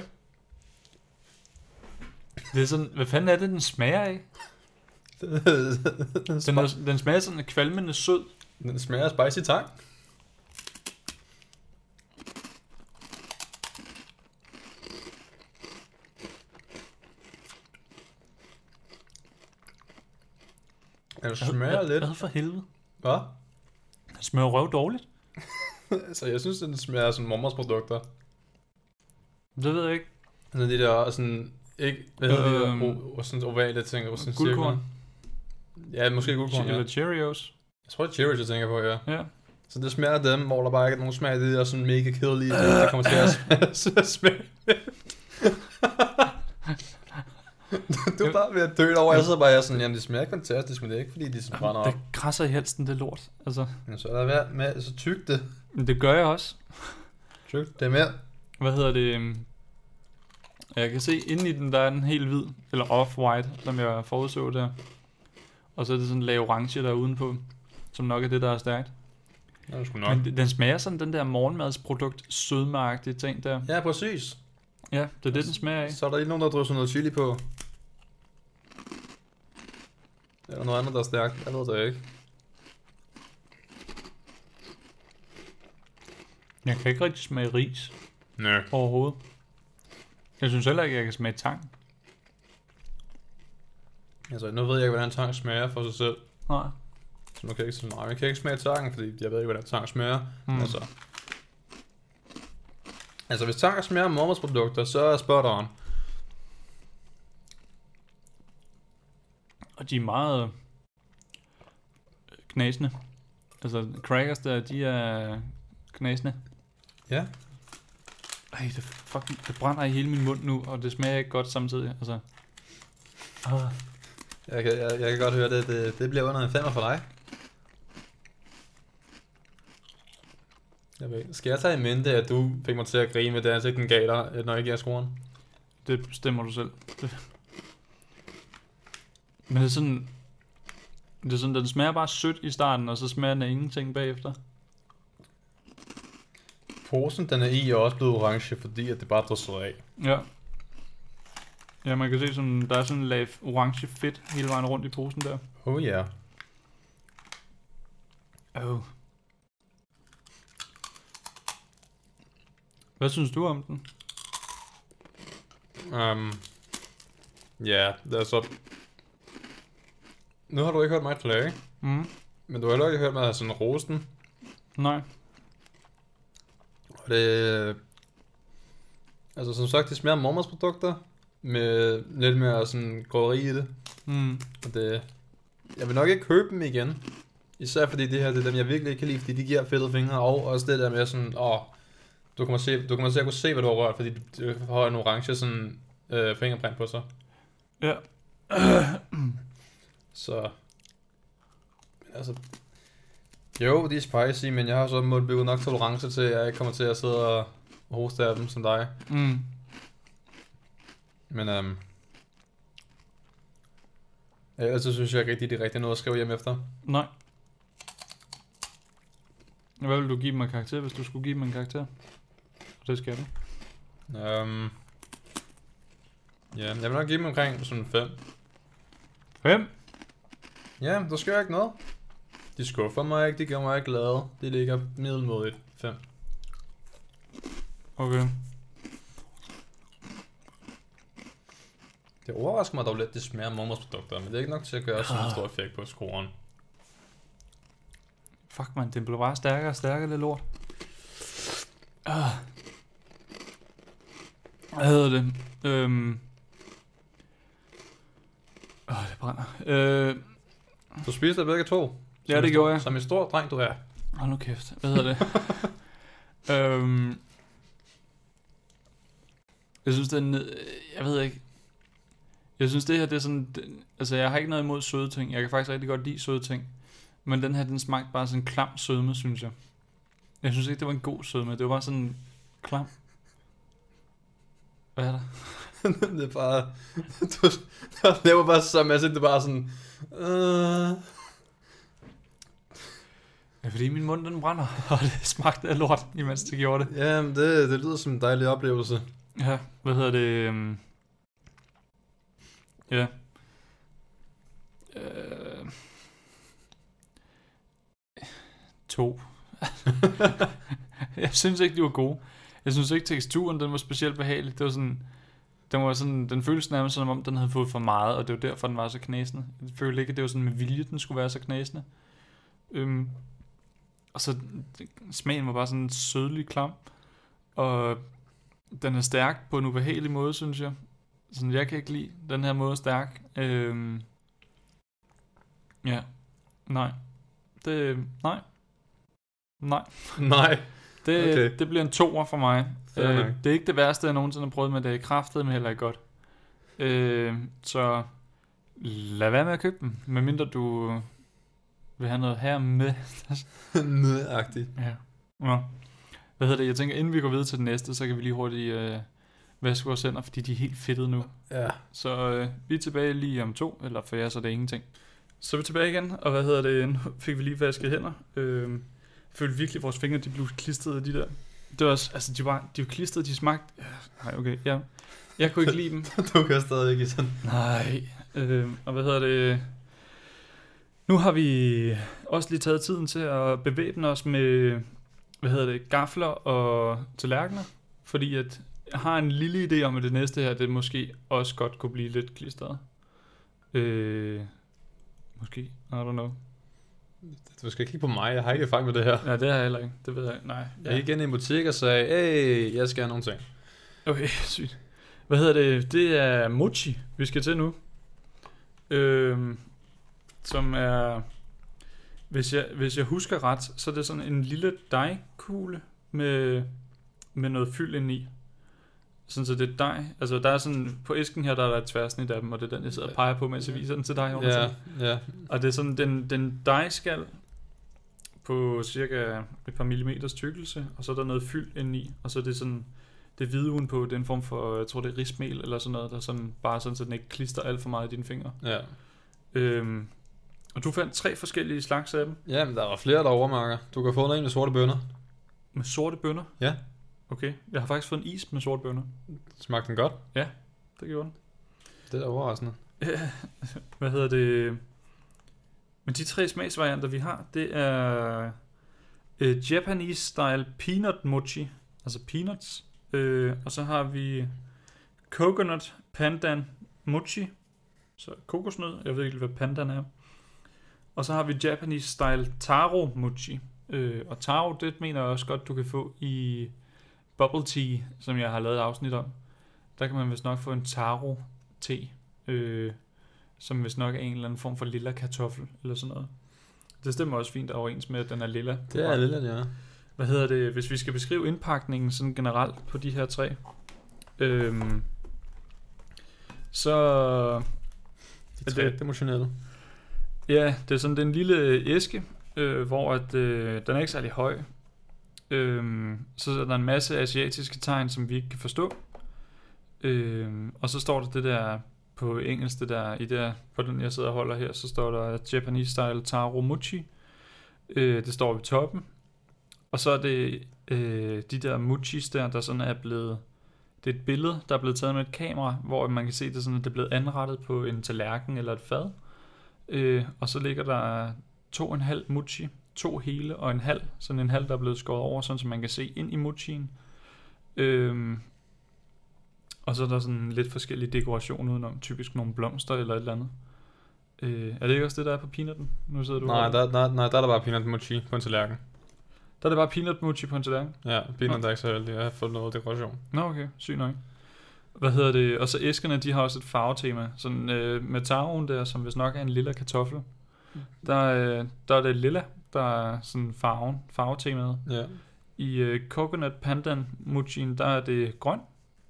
S1: Det er sådan, hvad fanden er det, den smager af?
S2: [laughs]
S1: Den, er, den smager sådan kvalmende sød.
S2: Den smager af spicy tang. Den smager lidt.
S1: Hvad for helvede?
S2: Hvad?
S1: Den smager røv dårligt.
S2: Så Altså, jeg synes, den smager som mormors produkter.
S1: Det ved jeg ikke.
S2: Sådan Altså, de der, sådan, ikke, hvad hedder de
S1: Øhm,
S2: der, o- o- sådan ovale ting, og sådan
S1: Guldkorn.
S2: cirkler. Ja, måske guldkorn, ja.
S1: Eller Cheerios.
S2: Jeg tror, det er Cherries, jeg tænker på, ja.
S1: Ja.
S2: Så det smager af dem, hvor der bare ikke er nogen smag i det der sådan mega
S1: [clears throat]
S2: kedelige, der kommer til at smage. smage. du er bare ved at dø over, jeg sidder bare og er sådan, jamen det smager ikke fantastisk, men det er ikke fordi, de sådan brænder op.
S1: Det krasser i halsen, det lort. Altså,
S2: Men så er der værd med, så tyk det.
S1: men det gør jeg også.
S2: Tyk det mere.
S1: Hvad hedder det? øhm, Jeg kan se, inde i den, der er den helt hvid, eller off-white, som jeg forudså der. Og så er det sådan en lag orange, der er udenpå, som nok er det, der er stærkt.
S2: Det er sgu
S1: Nå. Men den- den smager sådan den der morgenmadsprodukt, sødmagtige ting der.
S2: Ja, præcis.
S1: Ja, det er det, den smager af.
S2: Så er der lige nogen, der drysser noget chili på. Eller noget andet, der er stærkt. Jeg ved det ikke.
S1: Jeg kan ikke rigtig smage ris
S2: Nej.
S1: overhovedet. Jeg synes heller ikke, jeg kan smage tang.
S2: Altså, nu ved jeg ikke, hvordan tang smager for sig selv.
S1: Nej.
S2: Så nu kan jeg ikke, sige, nej, jeg kan ikke smage tangen, fordi jeg ved ikke, hvordan tang smager.
S1: Mm.
S2: Mm. Altså. altså, hvis tang smager af mormors produkter, så er spot on.
S1: Og de er meget øh, knasende. Altså, crackers der, de er knasende.
S2: Ja.
S1: Ej, det, fucking, det brænder i hele min mund nu, og det smager ikke godt samtidig. Altså. Ah.
S2: Jeg kan, jeg, jeg kan godt høre, det, det, det bliver under en femmer for dig. Jeg ved. ikke. Skal jeg tage i mente, at du fik mig til at grine med det ansigt, den gav dig, øh, når jeg giver scoren?
S1: Det bestemmer du selv. Det. Men det er sådan... Det er sådan, den smager bare sødt i starten, og så smager den af ingenting bagefter.
S2: Posen, den er i, er også blevet orange, fordi at det bare drysser af.
S1: Ja. Ja, man kan se, sådan, der er sådan en lag orange fedt hele vejen rundt i posen der.
S2: Oh ja. Yeah.
S1: Oh. Hvad synes du om den?
S2: Um, ja, yeah, altså... Nu har du ikke hørt mig klage,
S1: Mm.
S2: men du har heller ikke hørt mig have sådan rosten.
S1: Nej.
S2: Og det... Altså som sagt, det smager af mormors produkter, med lidt mere sådan gråderi i det.
S1: Mm.
S2: Og det... Jeg vil nok ikke købe dem igen. Især fordi det her, det er dem, jeg virkelig ikke kan lide, fordi de giver fedtede fingre, og også det der med sådan, åh, du kommer, se, du kommer til at kunne se, hvad du har rørt, fordi du du har en orange sådan, øh, fingerprint på sig.
S1: Ja.
S2: [clears throat] Så... Men altså... Jo, de er spicy, men jeg har så måttet nok tolerance til, at jeg ikke kommer til at sidde og hoste af dem som dig.
S1: Mm.
S2: Men øhm... ja, Ellers så synes jeg ikke rigtig, det er rigtigt noget at skrive hjem efter.
S1: Nej. Hvad vil du give dem en karakter, hvis du skulle give dem en karakter? Og det skal du.
S2: Øhm... Ja, jeg vil nok give dem omkring sådan 5.
S1: 5.
S2: Ja, der sker ikke noget. De skuffer mig ikke, de gør mig ikke glade. Det ligger middelmodigt 5.
S1: Okay.
S2: Det overrasker mig dog lidt, det smager af mormors produkter, men det er ikke nok til at gøre sådan en stor effekt på scoren.
S1: Fuck man, den blev bare stærkere og stærkere, det lort. Ah. Hvad hedder det? Øhm. Åh, oh, det brænder. Øh,
S2: Du spiste begge to.
S1: Ja,
S2: Som
S1: det
S2: en-
S1: gjorde jeg.
S2: Som en stor dreng, du er. [laughs]
S1: Hold nu kæft, hvad [laughs] hedder det? øhm, jeg synes, den... øh, Jeg ved ikke... Jeg synes, det her, det er sådan... Den, altså, jeg har ikke noget imod søde ting. Jeg kan faktisk rigtig godt lide søde ting. Men den her, den smagte bare sådan en klam sødme, synes jeg. Jeg synes ikke, det var en god sødme. Det var bare sådan klam. Hvad er der?
S2: det er bare... [laughs] Du, du laver bare så masse, det er bare sådan... Øh,
S1: Ja, fordi min mund, den brænder. [laughs] Og det smagte af lort, imens det gjorde det.
S2: jamen, det, det lyder som en dejlig oplevelse. [laughs]
S1: Ja, hvad hedder det? øhm, Ja. Øh... To. [laughs] jeg synes ikke, de var gode. Jeg synes ikke, teksturen den var specielt behagelig. Det var sådan... Den, var sådan, den føltes nærmest som om, den havde fået for meget, og det var derfor, den var så knæsende. Jeg følte ikke, at det var sådan med vilje, den skulle være så knæsende. Øhm, og så det- smagen var bare sådan sødlig klam. Og den er stærk på en ubehagelig måde, synes jeg. Sådan, jeg kan ikke lide den her måde stærk. Øhm, ja, nej. Det, nej. Nej.
S2: Nej.
S1: Det,
S2: Okay.
S1: okay. det bliver en toer for mig. Øh,
S2: Fair nok.
S1: det er ikke det værste, jeg nogensinde har prøvet, men det er kraftet med heller ikke godt. Øh, så lad være med at købe dem, medmindre du vil have noget her med.
S2: Øh, Nødagtigt.
S1: Ja. Nå. Hvad hedder det? Jeg tænker, inden vi går videre til den næste, så kan vi lige hurtigt øh, vaske vores hænder, fordi de er helt fedtede nu.
S2: Ja. [laughs]
S1: Så øh, vi er tilbage lige om to, eller for jer, så er det ingenting. Så er vi tilbage igen, og hvad hedder det, nu fik vi lige vasket hænder. Øh, følte virkelig, at vores fingre de blev klistrede, af de der. Det var også, altså de var, de var klistrede, de smagte. Øh, Nej, okay, ja. Jeg kunne ikke lide dem.
S2: Du kører stadig ikke i sådan.
S1: Nej. Øh, og hvad hedder det? Nu har vi også lige taget tiden til at bevæbne os med, hvad hedder det, gafler og tallerkener. Fordi at jeg har en lille idé om, at det næste her, det måske også godt kunne blive lidt klistret. Øh, måske, I don't know.
S2: Du skal kigge på mig, jeg har ikke erfaring med det her.
S1: Nej, det har jeg heller ikke. Det ved jeg ikke. Nej.
S2: Jeg gik ind i en butik og sagde, hey, jeg skal have nogle ting.
S1: Okay, [laughs] sygt. Hvad hedder det? Det er mochi, vi skal til nu. Øhm, som er... Hvis jeg, hvis jeg husker ret, så er det sådan en lille dejkugle med, med noget fyld indeni. Sådan så det er dej. Altså der er sådan, på æsken her, der er der et tværsnit af dem, og det er den, jeg sidder og peger på, mens jeg viser den til dig. Jonathan.
S2: Ja, ja.
S1: Og det er sådan, den, den dejskal på cirka et par millimeters tykkelse, og så er der noget fyld indeni, og så er det sådan, det hvide udenpå, det er en form for, jeg tror det er rismel eller sådan noget, der sådan, bare sådan, så den ikke klister alt for meget i dine fingre.
S2: ja.
S1: Øhm, og du fandt tre forskellige slags af dem,
S2: Ja, men der var flere, der overmarker. Du kan få noget med sorte bønner.
S1: med sorte bønner.
S2: Ja.
S1: Okay, jeg har faktisk fået en is med sorte bønner.
S2: Smagte den godt?
S1: Det gjorde den.
S2: Det er da overraskende.
S1: [laughs] Hvad hedder det? Men de tre smagsvarianter, vi har, det er øh, Japanese style peanut mochi, altså peanuts. Øh, og så har vi coconut pandan mochi, så kokosnød. Jeg ved ikke lige, hvad pandan er. Og så har vi Japanese style taro mochi. Øh, og taro, det mener jeg også godt, du kan få i bubble tea, som jeg har lavet et afsnit om. Der kan man vist nok få en taro te. Øh, som hvis nok er en eller anden form for lilla kartoffel, eller sådan noget. Det stemmer også fint overens med, at den er lilla.
S2: Det er lidt, ja.
S1: Hvad hedder det, hvis vi skal beskrive indpakningen sådan generelt på de her tre? Øhm, så
S2: De
S1: Er
S2: tre
S1: det-
S2: det... emotionelle.
S1: Ja, det er sådan den lille æske, øh, hvor at, øh, den er ikke særlig høj. Øhm, så er der en masse asiatiske tegn, som vi ikke kan forstå. Øhm, og så står der det der på engelsk, det der, i der, på den jeg sidder og holder her, så står der Japanese style taro mochi. Øh, det står ved toppen. Og så er det øh, de der mochis der, der sådan er blevet... Det er et billede, der er blevet taget med et kamera, hvor man kan se, det er sådan, at det er blevet anrettet på en tallerken eller et fad. Øh, og så ligger der to og en halv mochi, to hele og en halv, sådan en halv, der er blevet skåret over, sådan så man kan se ind i mochien. Øhm, og så er der sådan lidt forskellige dekorationer udenom, typisk nogle blomster eller et eller andet. Øh, er det ikke også det, der er på peanutten? Nu sidder du
S2: Nej,
S1: og-
S2: der, nej, nej, der er der bare peanut mochi på en tallerken.
S1: der er det bare peanut mochi på en tallerken.
S2: Ja, peanut
S1: Nå.
S2: er ikke så heldig. Jeg har fået noget dekoration.
S1: Nå, okay. Sygt nok. Hvad hedder det? Og så æskerne, de har også et farvetema. Sådan øh, med taroen der, som hvis nok er en lilla kartoffel. Der, øh, der er det lilla, der er sådan farven, farvetemaet.
S2: Ja.
S1: I øh, coconut pandan mochien, der er det grøn.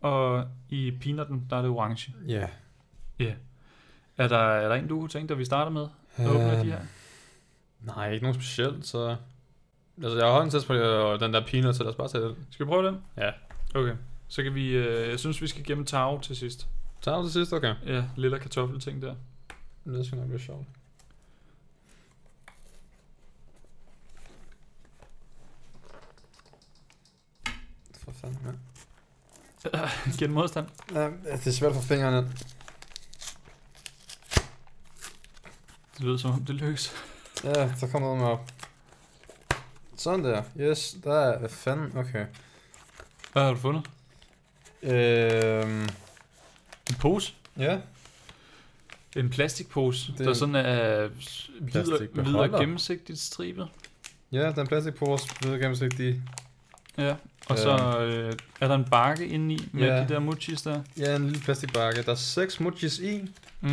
S1: Og i peanutten, der er det orange.
S2: Ja.
S1: Er der, er der en, du kunne tænke dig, vi starter med? At åbne de her?
S2: Øhm, Nej, ikke nogen specielt, så... Altså, jeg har holdt en test på det, og den der peanut, så lad os bare tage den.
S1: Skal vi prøve den?
S2: Ja.
S1: Okay. Så kan vi, øh, jeg synes, vi skal gemme taro til sidst.
S2: Tager du til sidst? Okay.
S1: Ja, lilla kartoffelting [laughs] der.
S2: Det skal nok blive sjovt. For fanden, ja.
S1: Gen modstand.
S2: Ja, det er svært for fingrene.
S1: Det lyder som om, det lykkes. [laughs]
S2: Ja, så kommer noget med op. Sådan der. Yes, der er... Hvad fanden? Okay.
S1: Hvad har du fundet?
S2: Øhm,
S1: pose.
S2: Ja,
S1: En plastikpose, det
S2: Det er
S1: der
S2: en
S1: sådan er videre,
S2: plastikbeholder.
S1: videre gennemsigtigt stribet.
S2: ja den plastikpose, ved gennemsigtig.
S1: Ja, og så øh, er der en bakke inde i med
S2: Ja.
S1: de der mochis der.
S2: Ja, en lille plastikbakke. Der er seks mochis i.
S1: Mm.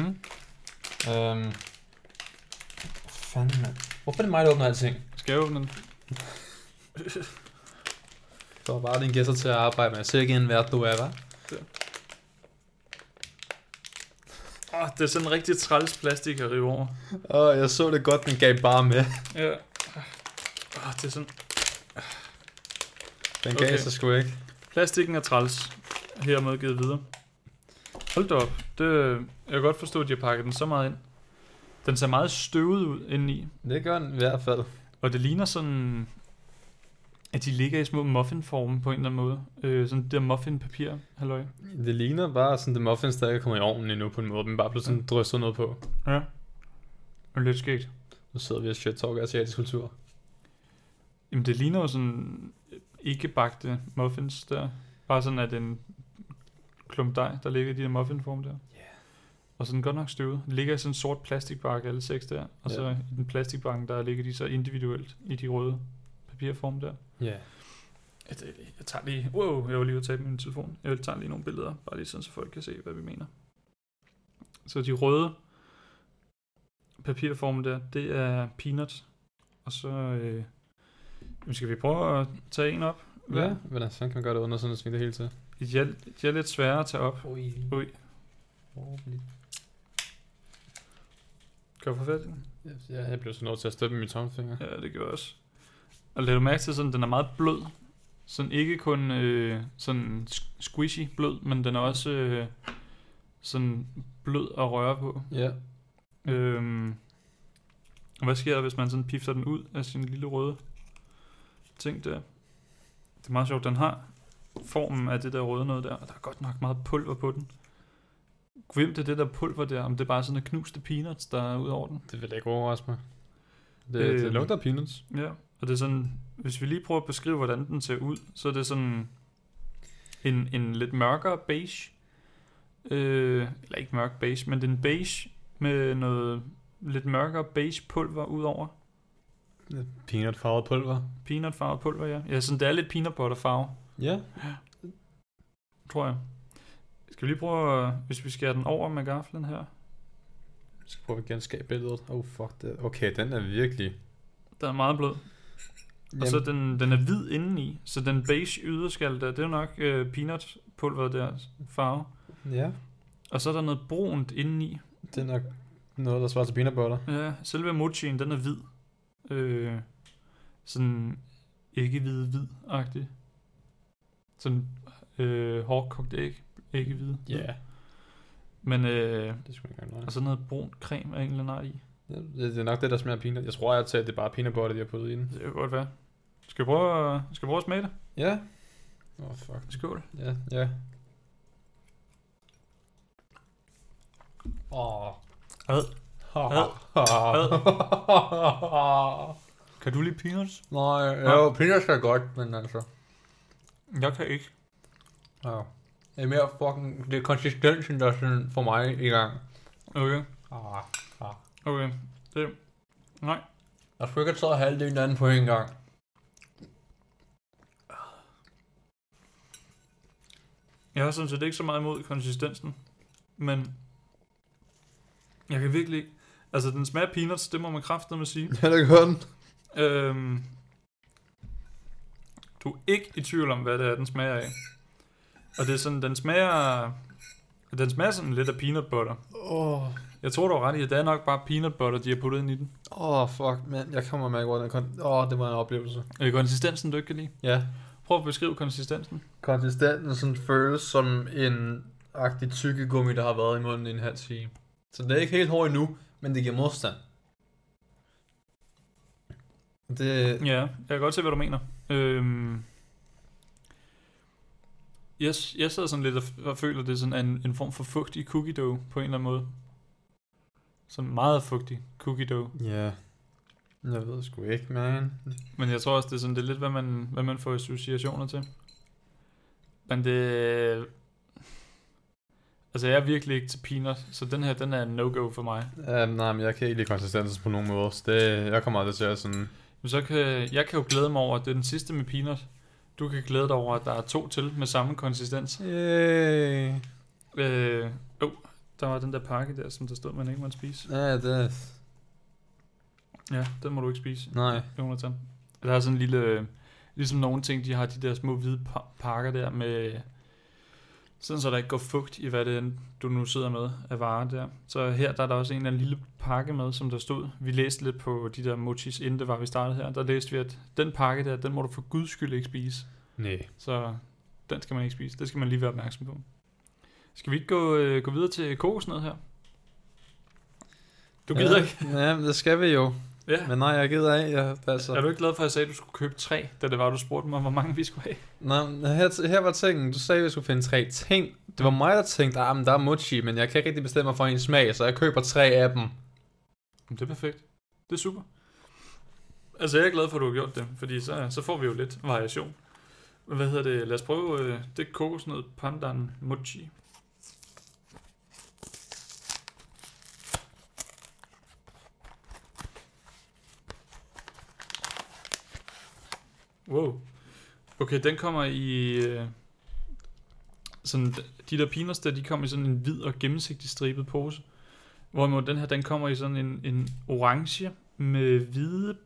S2: Øhm. Fanden, mand. Hvorfor er det mig, der åbner alting?
S1: Skal jeg åbne den?
S2: Der var bare dine gæster til at arbejde med. Sikke en vært, du er, hva'?
S1: Åh, det er sådan en rigtig træls plastik at rive over.
S2: Åh, jeg så det godt, den gav bare med.
S1: Ja. Åh, det er sådan...
S2: Den
S1: Okay.
S2: gav sig sgu ikke.
S1: Plastikken er træls. Hermed givet videre. Hold da op. Det, øh, jeg kan godt forstå, at de har pakket den så meget ind. Den ser meget støvet ud indeni.
S2: Det gør den i hvert fald.
S1: Og det ligner sådan, at de ligger i små muffinforme på en eller anden måde. Øh, sådan det der muffinpapir, halløj.
S2: Det ligner bare sådan, det muffins, der ikke er kommet i ovnen endnu på en måde. Den bare blev sådan drysset noget på.
S1: Ja. Og lidt skægt.
S2: Nu sidder vi og shit talker asiatisk kultur.
S1: Jamen det ligner jo sådan øh, ikke bagte muffins der. Bare sådan, at en klump dej, der ligger i de der muffinforme der.
S2: Ja.
S1: Og sådan godt nok støvet. Det ligger i sådan en sort plastikbakke, alle seks der. Og så
S2: Ja.
S1: i den plastikbakke, der ligger de så individuelt i de røde papirforme der.
S2: Ja. Yeah.
S1: Jeg, jeg tager lige... Wow, jeg var lige ude at tage min telefon. Jeg tager lige nogle billeder, bare lige sådan, så folk kan se, hvad vi mener. Så de røde papirformer der, det er peanuts. Og så... Øh, jamen, skal vi prøve at tage en op?
S2: Ja, hvordan sådan kan man gøre det under sådan at svinge det hele til?
S1: Jeg, jeg er lidt sværere at tage op.
S2: Ui.
S1: Ui. Gør for fat i den?
S2: Ja, jeg blev så nødt til at støtte med min tommelfinger.
S1: Ja, det gør jeg også. Og lad du mærke til, sådan, den er meget blød. Sådan ikke kun øh, sådan sk- squishy blød, men den er også øh, sådan blød at røre på.
S2: Ja.
S1: Øhm, og hvad sker der, hvis man sådan pifter den ud af sin lille røde ting der? Det er meget sjovt, den har formen af det der røde noget der, og der er godt nok meget pulver på den. Hvem det er det der pulver der, om det er bare sådan noget knuste peanuts, der er ud over den.
S2: Det vil ikke overraske mig. Det, øh,
S1: Øh.
S2: det lugter af peanuts.
S1: Ja, og det er sådan, hvis vi lige prøver at beskrive, hvordan den ser ud, så er det sådan en, en lidt mørkere beige, øh, eller ikke mørk beige, men det er en beige med noget lidt mørkere beige pulver ud over.
S2: Peanut farvet pulver.
S1: Peanut farvet pulver, ja. Ja, sådan det er lidt peanut butter farve,
S2: Ja.
S1: tror jeg. Skal vi lige prøve, at- hvis vi skærer den over med gaflen her?
S2: Jeg skal prøve at genskabe billedet. Oh fuck det. Okay, den er virkelig...
S1: Den er meget blød. Og så den, den er hvid indeni, så den beige yderskal der, det er jo nok øh, peanut pulver der farve.
S2: ja,
S1: Og så er der noget brunt indeni.
S2: det er nok noget, der svarer til peanut butter.
S1: Ja, selve mochien, den er hvid. Øh, sådan ikke hvid hvid agtig Sådan øh, hårdkogt æg. Ikke hvid. Men øh,
S2: det skulle ikke engang
S1: Og så noget brun creme af en eller anden art i.
S2: noget. Det, det, er nok det, der smager af peanut. Jeg tror, jeg tager, at det er bare peanut butter, de har puttet i den.
S1: Det kan godt være. Skal vi prøve, at- skal vi prøve at smage det?
S2: Ja. Åh, oh, fuck.
S1: Skål.
S2: Ja, ja. Åh.
S1: Ad. Ad. Kan du lide peanuts?
S2: [laughs] Nej, jo, peanuts er godt, men altså...
S1: Jeg kan ikke.
S2: Ja. Det er mere fucking... Det er konsistensen, der sådan for mig i gang.
S1: Okay,
S2: Ah, ah.
S1: okay. Det. Nej.
S2: Jeg skulle ikke have taget halvdelen af den på en gang.
S1: Jeg har sådan set ikke så meget imod konsistensen. Men jeg kan virkelig ikke. Altså, den smager af peanuts, det må man kraftedeme sige.
S2: [laughs] Ja, det gør den.
S1: Øhm, du er ikke i tvivl om, hvad det er, den smager af. Og det er sådan, den smager... Den smager sådan lidt af peanut butter.
S2: Åh, oh,
S1: Jeg tror, du har ret i, at det er nok bare peanut butter, de har puttet ind i den.
S2: oh, fuck, mand. Jeg kommer med over den kon- Åh, oh, det var en oplevelse.
S1: Øh, konsistensen, du ikke kan lide.
S2: Ja.
S1: Prøv at beskrive konsistensen.
S2: Konsistensen sådan føles som en agtig tykkegummi, der har været i munden i en halv time. Så det er ikke helt hård endnu, men det giver modstand. Det...
S1: Ja, jeg kan godt se, hvad du mener. Øhm, jeg, s- jeg sidder sådan lidt og, f- og føler, det er sådan en, en form for fugtig cookie dough på en eller anden måde. Sådan meget fugtig cookie dough.
S2: Ja. Jeg ved sgu ikke, man.
S1: Men jeg tror også, det er sådan det er lidt, hvad man, hvad man får associationer til. Men det... Altså, jeg er virkelig ikke til peanut, så den her, den er en no-go for mig.
S2: Um, nej, men jeg kan ikke lide konsistensen på nogen måde. Så det, jeg kommer aldrig til at sådan...
S1: Men så kan, jeg kan jo glæde mig over, at det er den sidste med peanut. Du kan glæde dig over, at der er to til med samme konsistens.
S2: Yay.
S1: Øh, oh, der var den der pakke der, som der stod, man ikke måtte spise.
S2: Ja, det...
S1: Ja, den må du ikke spise,
S2: Nej.
S1: Jonathan. Der er sådan en lille... Ligesom nogle ting, de har de der små hvide pa- pakker der med... Sådan så der ikke går fugt i, hvad det er, du nu sidder med af varer der. Så her der er der også en eller anden lille pakke med, som der stod. Vi læste lidt på de der mochis, inden det var, vi startede her. Der læste vi, at den pakke der, den må du for guds skyld ikke spise.
S2: Nej.
S1: Så den skal man ikke spise. Det skal man lige være opmærksom på. Skal vi ikke gå, øh, gå videre til kokosnød her? Du gider
S2: ja,
S1: ja. ikke?
S2: Ja, men det skal vi jo.
S1: Ja.
S2: Men nej, jeg gider af. Jeg, altså.
S1: Er du ikke glad for, at jeg sagde, at du skulle købe tre, da det var, du spurgte mig, hvor mange vi skulle have?
S2: Nå, men her, her var tingen. Du sagde, at vi skulle finde tre ting. Det var mig, der tænkte, at der er mochi, men jeg kan ikke rigtig bestemme mig for en smag, så jeg køber tre af dem.
S1: Jamen, det er perfekt. Det er super. Altså, jeg er glad for, at du har gjort det, fordi så, så får vi jo lidt variation. Men Hvad hedder det? Lad os prøve øh, det kokosnød pandan mochi. Wow. Okay, den kommer i... Øh, sådan, de der peanuts der, de kommer i sådan en hvid og gennemsigtig stribet pose. Hvorimod den her, den kommer i sådan en, en orange med hvide,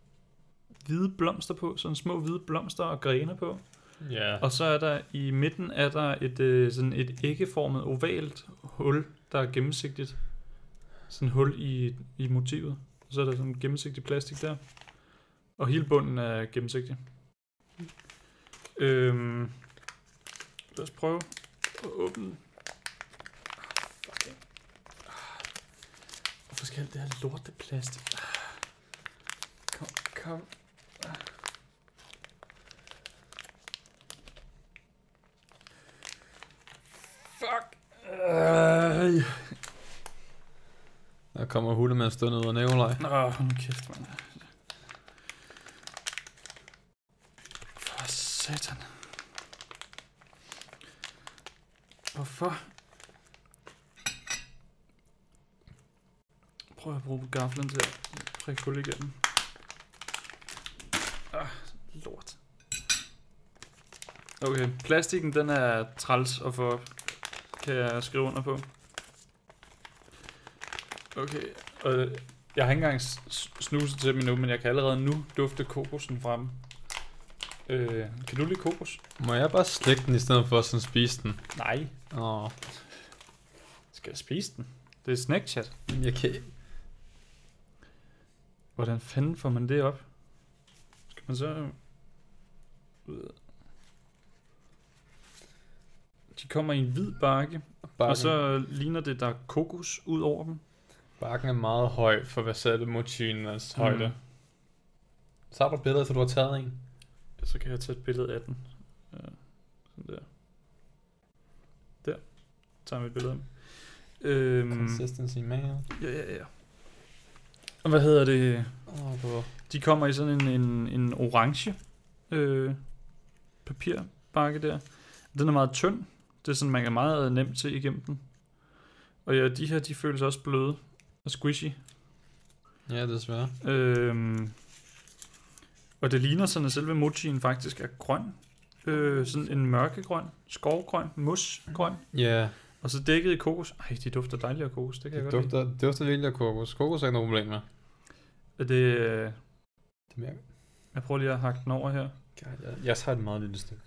S1: hvide blomster på. Sådan små hvide blomster og grene på.
S2: Ja.
S1: Og så er der i midten er der et, øh, sådan et æggeformet ovalt hul, der er gennemsigtigt. Sådan et hul i, i motivet. Og så er der sådan gennemsigtig plastik der. Og hele bunden er gennemsigtig. Øhm, lad os prøve at åbne den. Ah, fuck, ja. Ah, Hvorfor skal alt det her lorte plastik? Ah. Kom, kom. Fuck. Øh.
S2: Der kommer hulemand stående ud af Nikolaj.
S1: Nå, hold nu kæft, mand. For satan. Hvorfor? Prøv at bruge gaflen til at prikke hul igennem. Ah, lort. Okay, plastikken den er træls at få op. Kan jeg skrive under på. Okay, og jeg har ikke engang s- s- snuset til dem endnu, men jeg kan allerede nu dufte kokosen frem. Øh, kan du lide kokos?
S2: Må jeg bare slikke den, i stedet for at sådan spise den?
S1: Nej.
S2: Åh,
S1: Skal jeg spise den? Det er snackchat.
S2: jeg kan...
S1: Hvordan fanden får man det op? Skal man så... ud? De kommer i en hvid bakke,
S2: Bakken,
S1: og så øh, ligner det, der er kokos ud over dem.
S2: bakken er meget høj for hvad sætte mochiens højde. Mm. Så har du billedet, for du har taget en.
S1: Så kan jeg tage et billede af den. Ja, sådan der. Der. Tager vi et billede af den. Øhm,
S2: Consistency mail.
S1: ja, ja, ja. Og hvad hedder det?
S2: Åh, oh,
S1: De kommer i sådan en, en, en orange øh, papirbakke der. Den er meget tynd. Det er sådan, man kan meget nemt se igennem den. Og ja, de her, de føles også bløde og squishy.
S2: Ja, desværre.
S1: Øhm, og det ligner sådan, at selve mochien faktisk er grøn. Øh, sådan en mørkegrøn, skovgrøn, musgrøn.
S2: Ja,
S1: Og så dækket i kokos. Ej, de dufter dejligt af kokos. Det kan jeg
S2: det
S1: godt dufter.
S2: dufter, det dufter vildt af kokos. Kokos er ikke noget problem med.
S1: lide. Er Det, øh,
S2: Det mærker
S1: jeg prøver lige at hakke den over her.
S2: God, jeg. Jeg tager et meget lille stykke.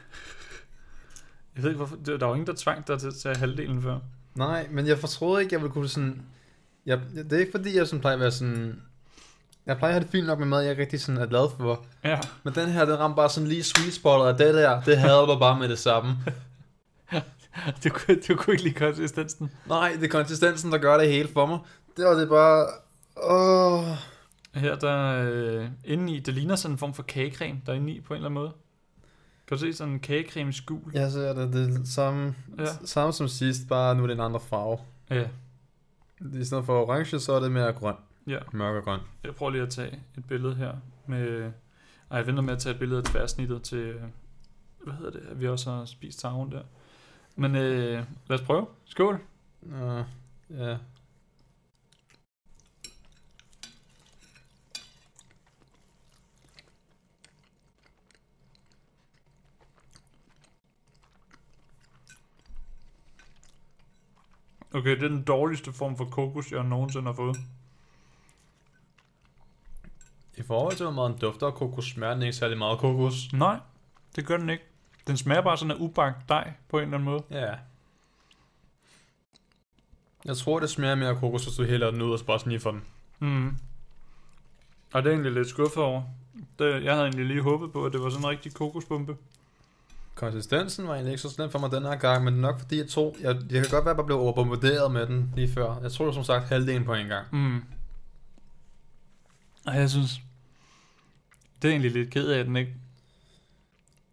S1: [laughs] jeg ved ikke, hvorfor. Der der var ingen, der tvang dig til at tage halvdelen før.
S2: Nej, men jeg fortroede ikke, jeg ville kunne sådan... Jeg, det er ikke fordi, jeg sådan plejer at være sådan... Jeg plejer at have det fint nok med mad, jeg ikke rigtig sådan er glad for.
S1: Ja, [laughs]
S2: Men den her, den ramte bare sådan lige sweet spottet, og det der, det havde mig bare med det samme.
S1: du kunne, du kunne ikke lide konsistensen.
S2: Nej, det er konsistensen, der gør det hele for mig. Det var det bare... Åh...
S1: Her der øh, indeni, det ligner sådan en form for kagecreme, der er indeni på en eller anden måde. Kan du se sådan en kagecreme skul?
S2: Jeg ser det, det er det samme,
S1: Ja.
S2: ja. samme som sidst, bare nu er det en anden farve.
S1: Ja,
S2: I stedet for orange, så er det mere grøn.
S1: ja.
S2: Mørk og grøn.
S1: Jeg prøver lige at tage et billede her. Med, ej, jeg venter med at tage et billede af tværsnittet til, øh, hvad hedder det, at vi også har spist tavlen der. Men øh, lad os prøve. Skål.
S2: Nå, ja.
S1: Okay, det er den dårligste form for kokos, jeg nogensinde har fået.
S2: I forhold til, hvor meget den dufter af kokos, smager den ikke særlig meget kokos.
S1: Nej, det gør den ikke. Den smager bare sådan af ubagt dej på en eller anden måde.
S2: Ja. Jeg tror, det smager mere af kokos, hvis du hælder den ud og bare sniffer den.
S1: Mm. Og det er jeg egentlig lidt skuffet over. Det, jeg havde egentlig lige håbet på, at det var sådan en rigtig kokosbombe.
S2: Konsistensen var egentlig ikke så slem for mig den her gang, men nok fordi jeg tror, jeg, jeg kan godt være, at jeg blev overbombarderet med den lige før. Jeg tror som sagt halvdelen på en gang.
S1: Mm. Og jeg synes, det er egentlig lidt ked af, at den ikke,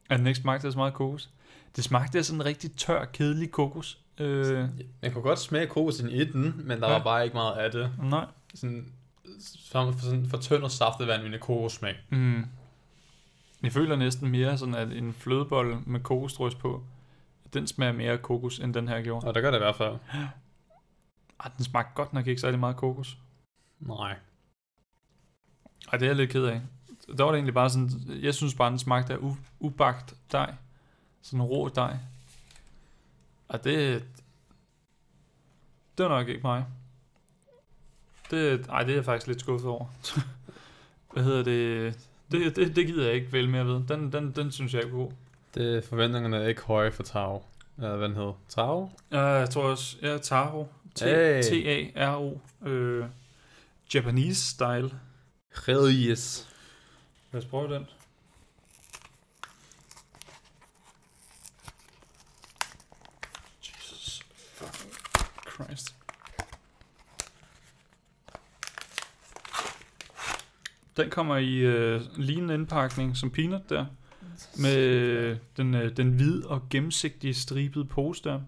S1: at den ikke smagte af så meget kokos. Det smagte af sådan en rigtig tør, kedelig kokos. Øh,
S2: Jeg kunne godt smage kokosen i den, men der
S1: Ja.
S2: var bare ikke meget af det.
S1: nej.
S2: Sådan, sådan, sådan for tynd og saftevand med kokossmag.
S1: Mm. Jeg føler næsten mere sådan, at en flødebolle med kokosdrys på, den smager mere af kokos, end den her gjorde.
S2: Og det gør det i hvert fald.
S1: Ej, den smagte godt nok ikke særlig meget kokos.
S2: Nej.
S1: Ej, det er jeg lidt ked af. Der var det egentlig bare sådan, jeg synes bare, den smagte af u- ubagt dej. Sådan rå dej. Og det, det var nok ikke mig. Det, ej, det er jeg faktisk lidt skuffet over. [laughs] Hvad hedder det? Det, det, det gider jeg ikke vælge mere ved. Den, den, den synes jeg ikke er god.
S2: Det forventningerne er ikke høje for Tav. Eller hvad den hed? Tav?
S1: Uh, jeg tror også, ja, Taro. T-
S2: Hey.
S1: T-A-R-O. Øh, Japanese style.
S2: Redis.
S1: Lad os prøve den. Jesus fucking Christ. Den kommer i øh, lignende indpakning som peanut der. Med øh, den, øh, den hvide og gennemsigtige stribede pose der.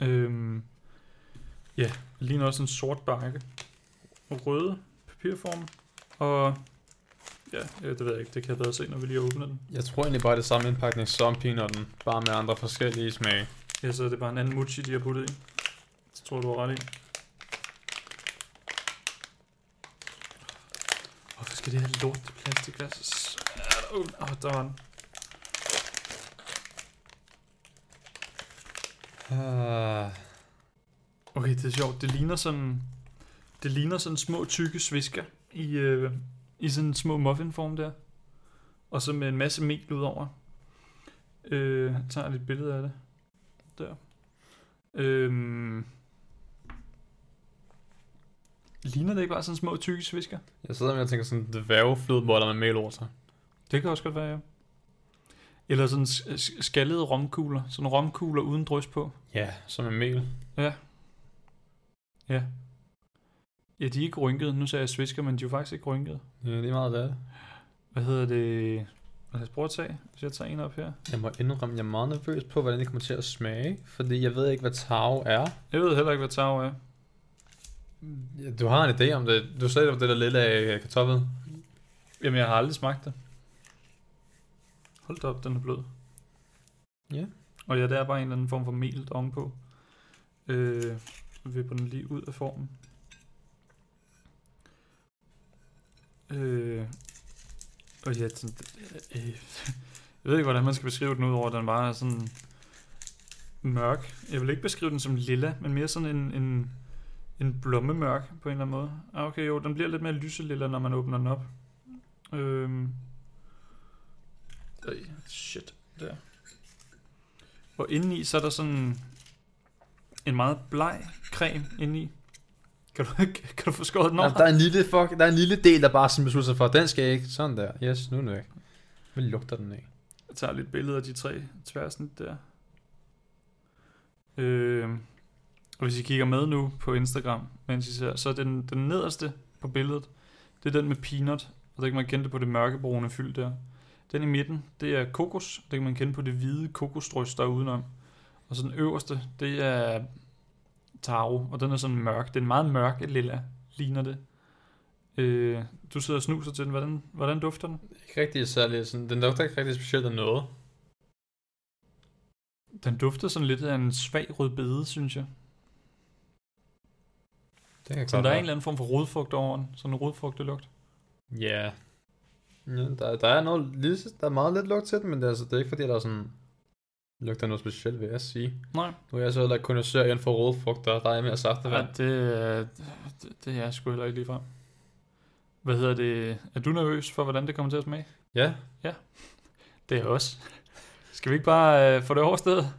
S1: Øhm, ja, ligner også en sort bakke. Og røde papirform. Og ja, øh, det ved jeg ikke, det kan jeg bedre se, når vi lige åbner den.
S2: Jeg tror egentlig bare det er samme indpakning som peanutten, bare med andre forskellige smage.
S1: Ja, så er det bare en anden mochi, de har puttet i. Det tror jeg, du har ret i. Hvorfor skal det her lort plastikglas? så svært at åbne? Åh, der var den.
S2: Uh,
S1: Okay, det er sjovt. Det ligner sådan, det ligner sådan små tykke svisker i, øh, i sådan små muffinform der. Og så med en masse mel udover. Øh, jeg tager lidt billede af det. Der. Øhm. Ligner det ikke bare sådan små tykke svisker?
S2: jeg sidder med og tænker sådan dværgeflødeboller med mel over sig.
S1: Det kan også godt være, ja. Eller sådan s- s- skallede romkugler. Sådan romkugler uden drys på.
S2: Ja, som en mel.
S1: Ja, de er ikke rynkede. Nu sagde jeg svisker, men de er jo faktisk ikke rynkede.
S2: Ja, det er meget af det.
S1: Hvad hedder det? Lad os prøve at tage, hvis jeg tager en op her.
S2: Jeg må indrømme, jeg er meget nervøs på, hvordan det kommer til at smage, fordi jeg ved ikke, hvad Tav er.
S1: Jeg ved heller ikke, hvad tarv er.
S2: Ja, Du har en idé om det. Du sagde, det var det der lille af kartoffel.
S1: Jamen, jeg har aldrig smagt det. Hold da op, den er blød.
S2: Ja.
S1: Og ja, der er bare en eller anden form for mel ovenpå. Øh, vi vipper den lige ud af formen. Øh, og ja, den, øh, [laughs] jeg ved ikke, hvordan man skal beskrive den, udover at den bare er sådan mørk. Jeg vil ikke beskrive den som lilla, men mere sådan en, en, en blommemørk på en eller anden måde. Ah, okay, jo, den bliver lidt mere lyselilla, når man åbner den op. Øhm. Øj, shit. Der. Og indeni, så er der sådan en meget bleg creme indeni. Kan du, [laughs] kan du få skåret den over?
S2: Jamen, der, er en lille fuck, der er en lille del, der bare sådan beslutter sig for, den skal jeg ikke. Sådan der. Yes, nu er den væk. Hvad lugter den af?
S1: Jeg tager lidt billeder af de tre tværsnit der. Øh, og hvis I kigger med nu på Instagram, mens I ser, så er den, den nederste på billedet, det er den med peanut, og der kan man kende det på det mørkebrune fyld der. Den i midten, det er kokos, og det kan man kende på det hvide kokosdrys, der er udenom. Og så den øverste, det er taro, og den er sådan mørk. Det er en meget mørk lilla, ligner det. Øh, du sidder og snuser til den. Hvordan, hvordan dufter den?
S2: Ikke rigtig særlig. Sådan, den lugter ikke rigtig specielt af noget.
S1: Den dufter sådan lidt af en svag rødbede, synes jeg.
S2: Det kan
S1: Så
S2: godt
S1: der er
S2: være.
S1: en eller anden form for rodfugt over den. Sådan en rodfugtig lugt.
S2: Ja. ja der, der, er noget, lige, der er meget lidt lugt til den, men det er, altså, det er ikke fordi, der er sådan... Lugter noget specielt, vil jeg sige.
S1: Nej,
S2: Nu er jeg så heller ikke kondensør inden for røde frugter, der er mere
S1: det,
S2: saftevand.
S1: ja, det, øh, det, det er jeg sgu heller ikke ligefrem. Hvad hedder det? Er du nervøs for, hvordan det kommer til at smage?
S2: Ja,
S1: Det er jeg også. Skal vi ikke bare øh, få det overstået?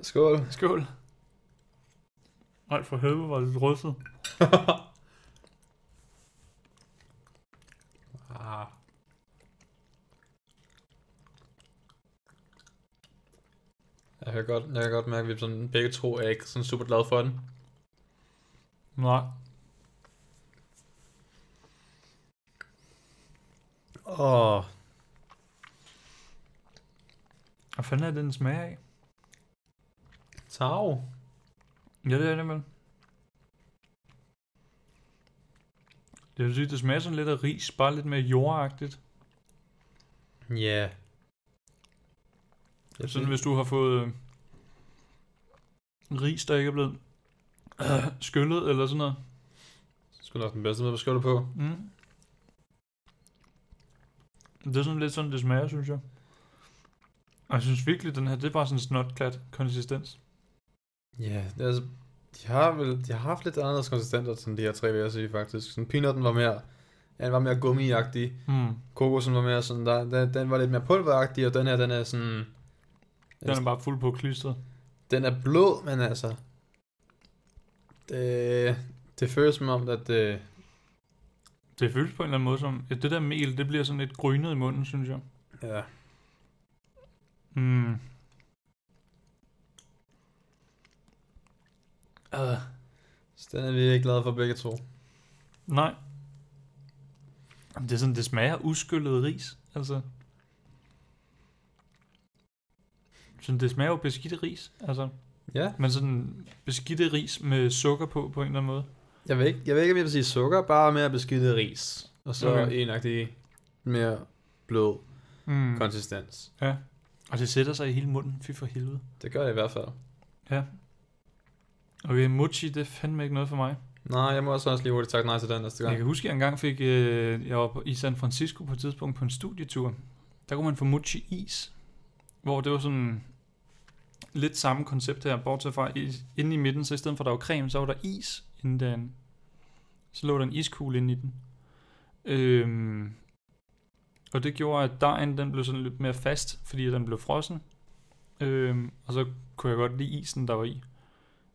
S2: skål.
S1: Skål. Nej, for helvede var det rystet.
S2: Ah. Jeg kan godt, jeg kan godt mærke, at vi sådan, begge to er ikke sådan super glade for den.
S1: Nej,
S2: Åh. Oh.
S1: hvad fanden er det, den smager af?
S2: Tav.
S1: Ja, det er det vel. Det vil sige, det smager sådan lidt af ris, bare lidt mere jordagtigt.
S2: Ja. Yeah.
S1: Yep. Sådan hvis du har fået øh, ris, der ikke er blevet øh, skyllet eller sådan noget.
S2: Skulle nok den bedste måde at beskrive det på.
S1: Mm. Det er sådan lidt sådan, det smager, synes jeg. Og jeg synes virkelig, den her, det er bare sådan en snotklat konsistens.
S2: Ja, yeah, altså, de har vel, de har haft lidt anderledes konsistenter, som de her tre, vil jeg sige, faktisk. Sådan peanutten var mere, ja, den var mere gummiagtig.
S1: Mm.
S2: Kokosen var mere sådan, der, den, den var lidt mere pulveragtig, og den her, den er sådan,
S1: Den er bare fuld på klistret.
S2: den er blå, men altså, det, det føles som om, at det,
S1: Det føles på en eller anden måde som, ja, det der mel, det bliver sådan lidt grynet i munden, synes jeg.
S2: ja,
S1: Mm. Uh,
S2: så den er vi ikke glade for begge to.
S1: nej. Jamen, det er sådan, det smager af uskyllet ris, altså. Sådan, det smager jo beskidt af ris, altså.
S2: Ja,
S1: Men sådan beskidte ris med sukker på, på en eller anden måde.
S2: jeg ved ikke, jeg ved ikke om jeg vil sige sukker, bare mere beskidtet ris. Og så
S1: Okay.
S2: okay. enagtig mere blød
S1: Mm.
S2: konsistens.
S1: Ja. Og det sætter sig i hele munden, fy for helvede.
S2: Det gør det i hvert fald.
S1: Okay, mochi, det er fandme ikke noget for mig.
S2: Nej, jeg må også, også lige hurtigt takke nej til den næste
S1: Jeg
S2: gang.
S1: kan huske, at jeg engang fik, øh, jeg var på, i San Francisco på et tidspunkt på en studietur. Der kunne man få mochi is, hvor det var sådan lidt samme koncept her, bortset fra i- inde i midten, så i stedet for at der var creme, så var der is inden den. Så lå der en iskugle inde i den. Øhm, og det gjorde, at dejen den blev sådan lidt mere fast, fordi den blev frossen. Øhm, og så kunne jeg godt lide isen, der var i.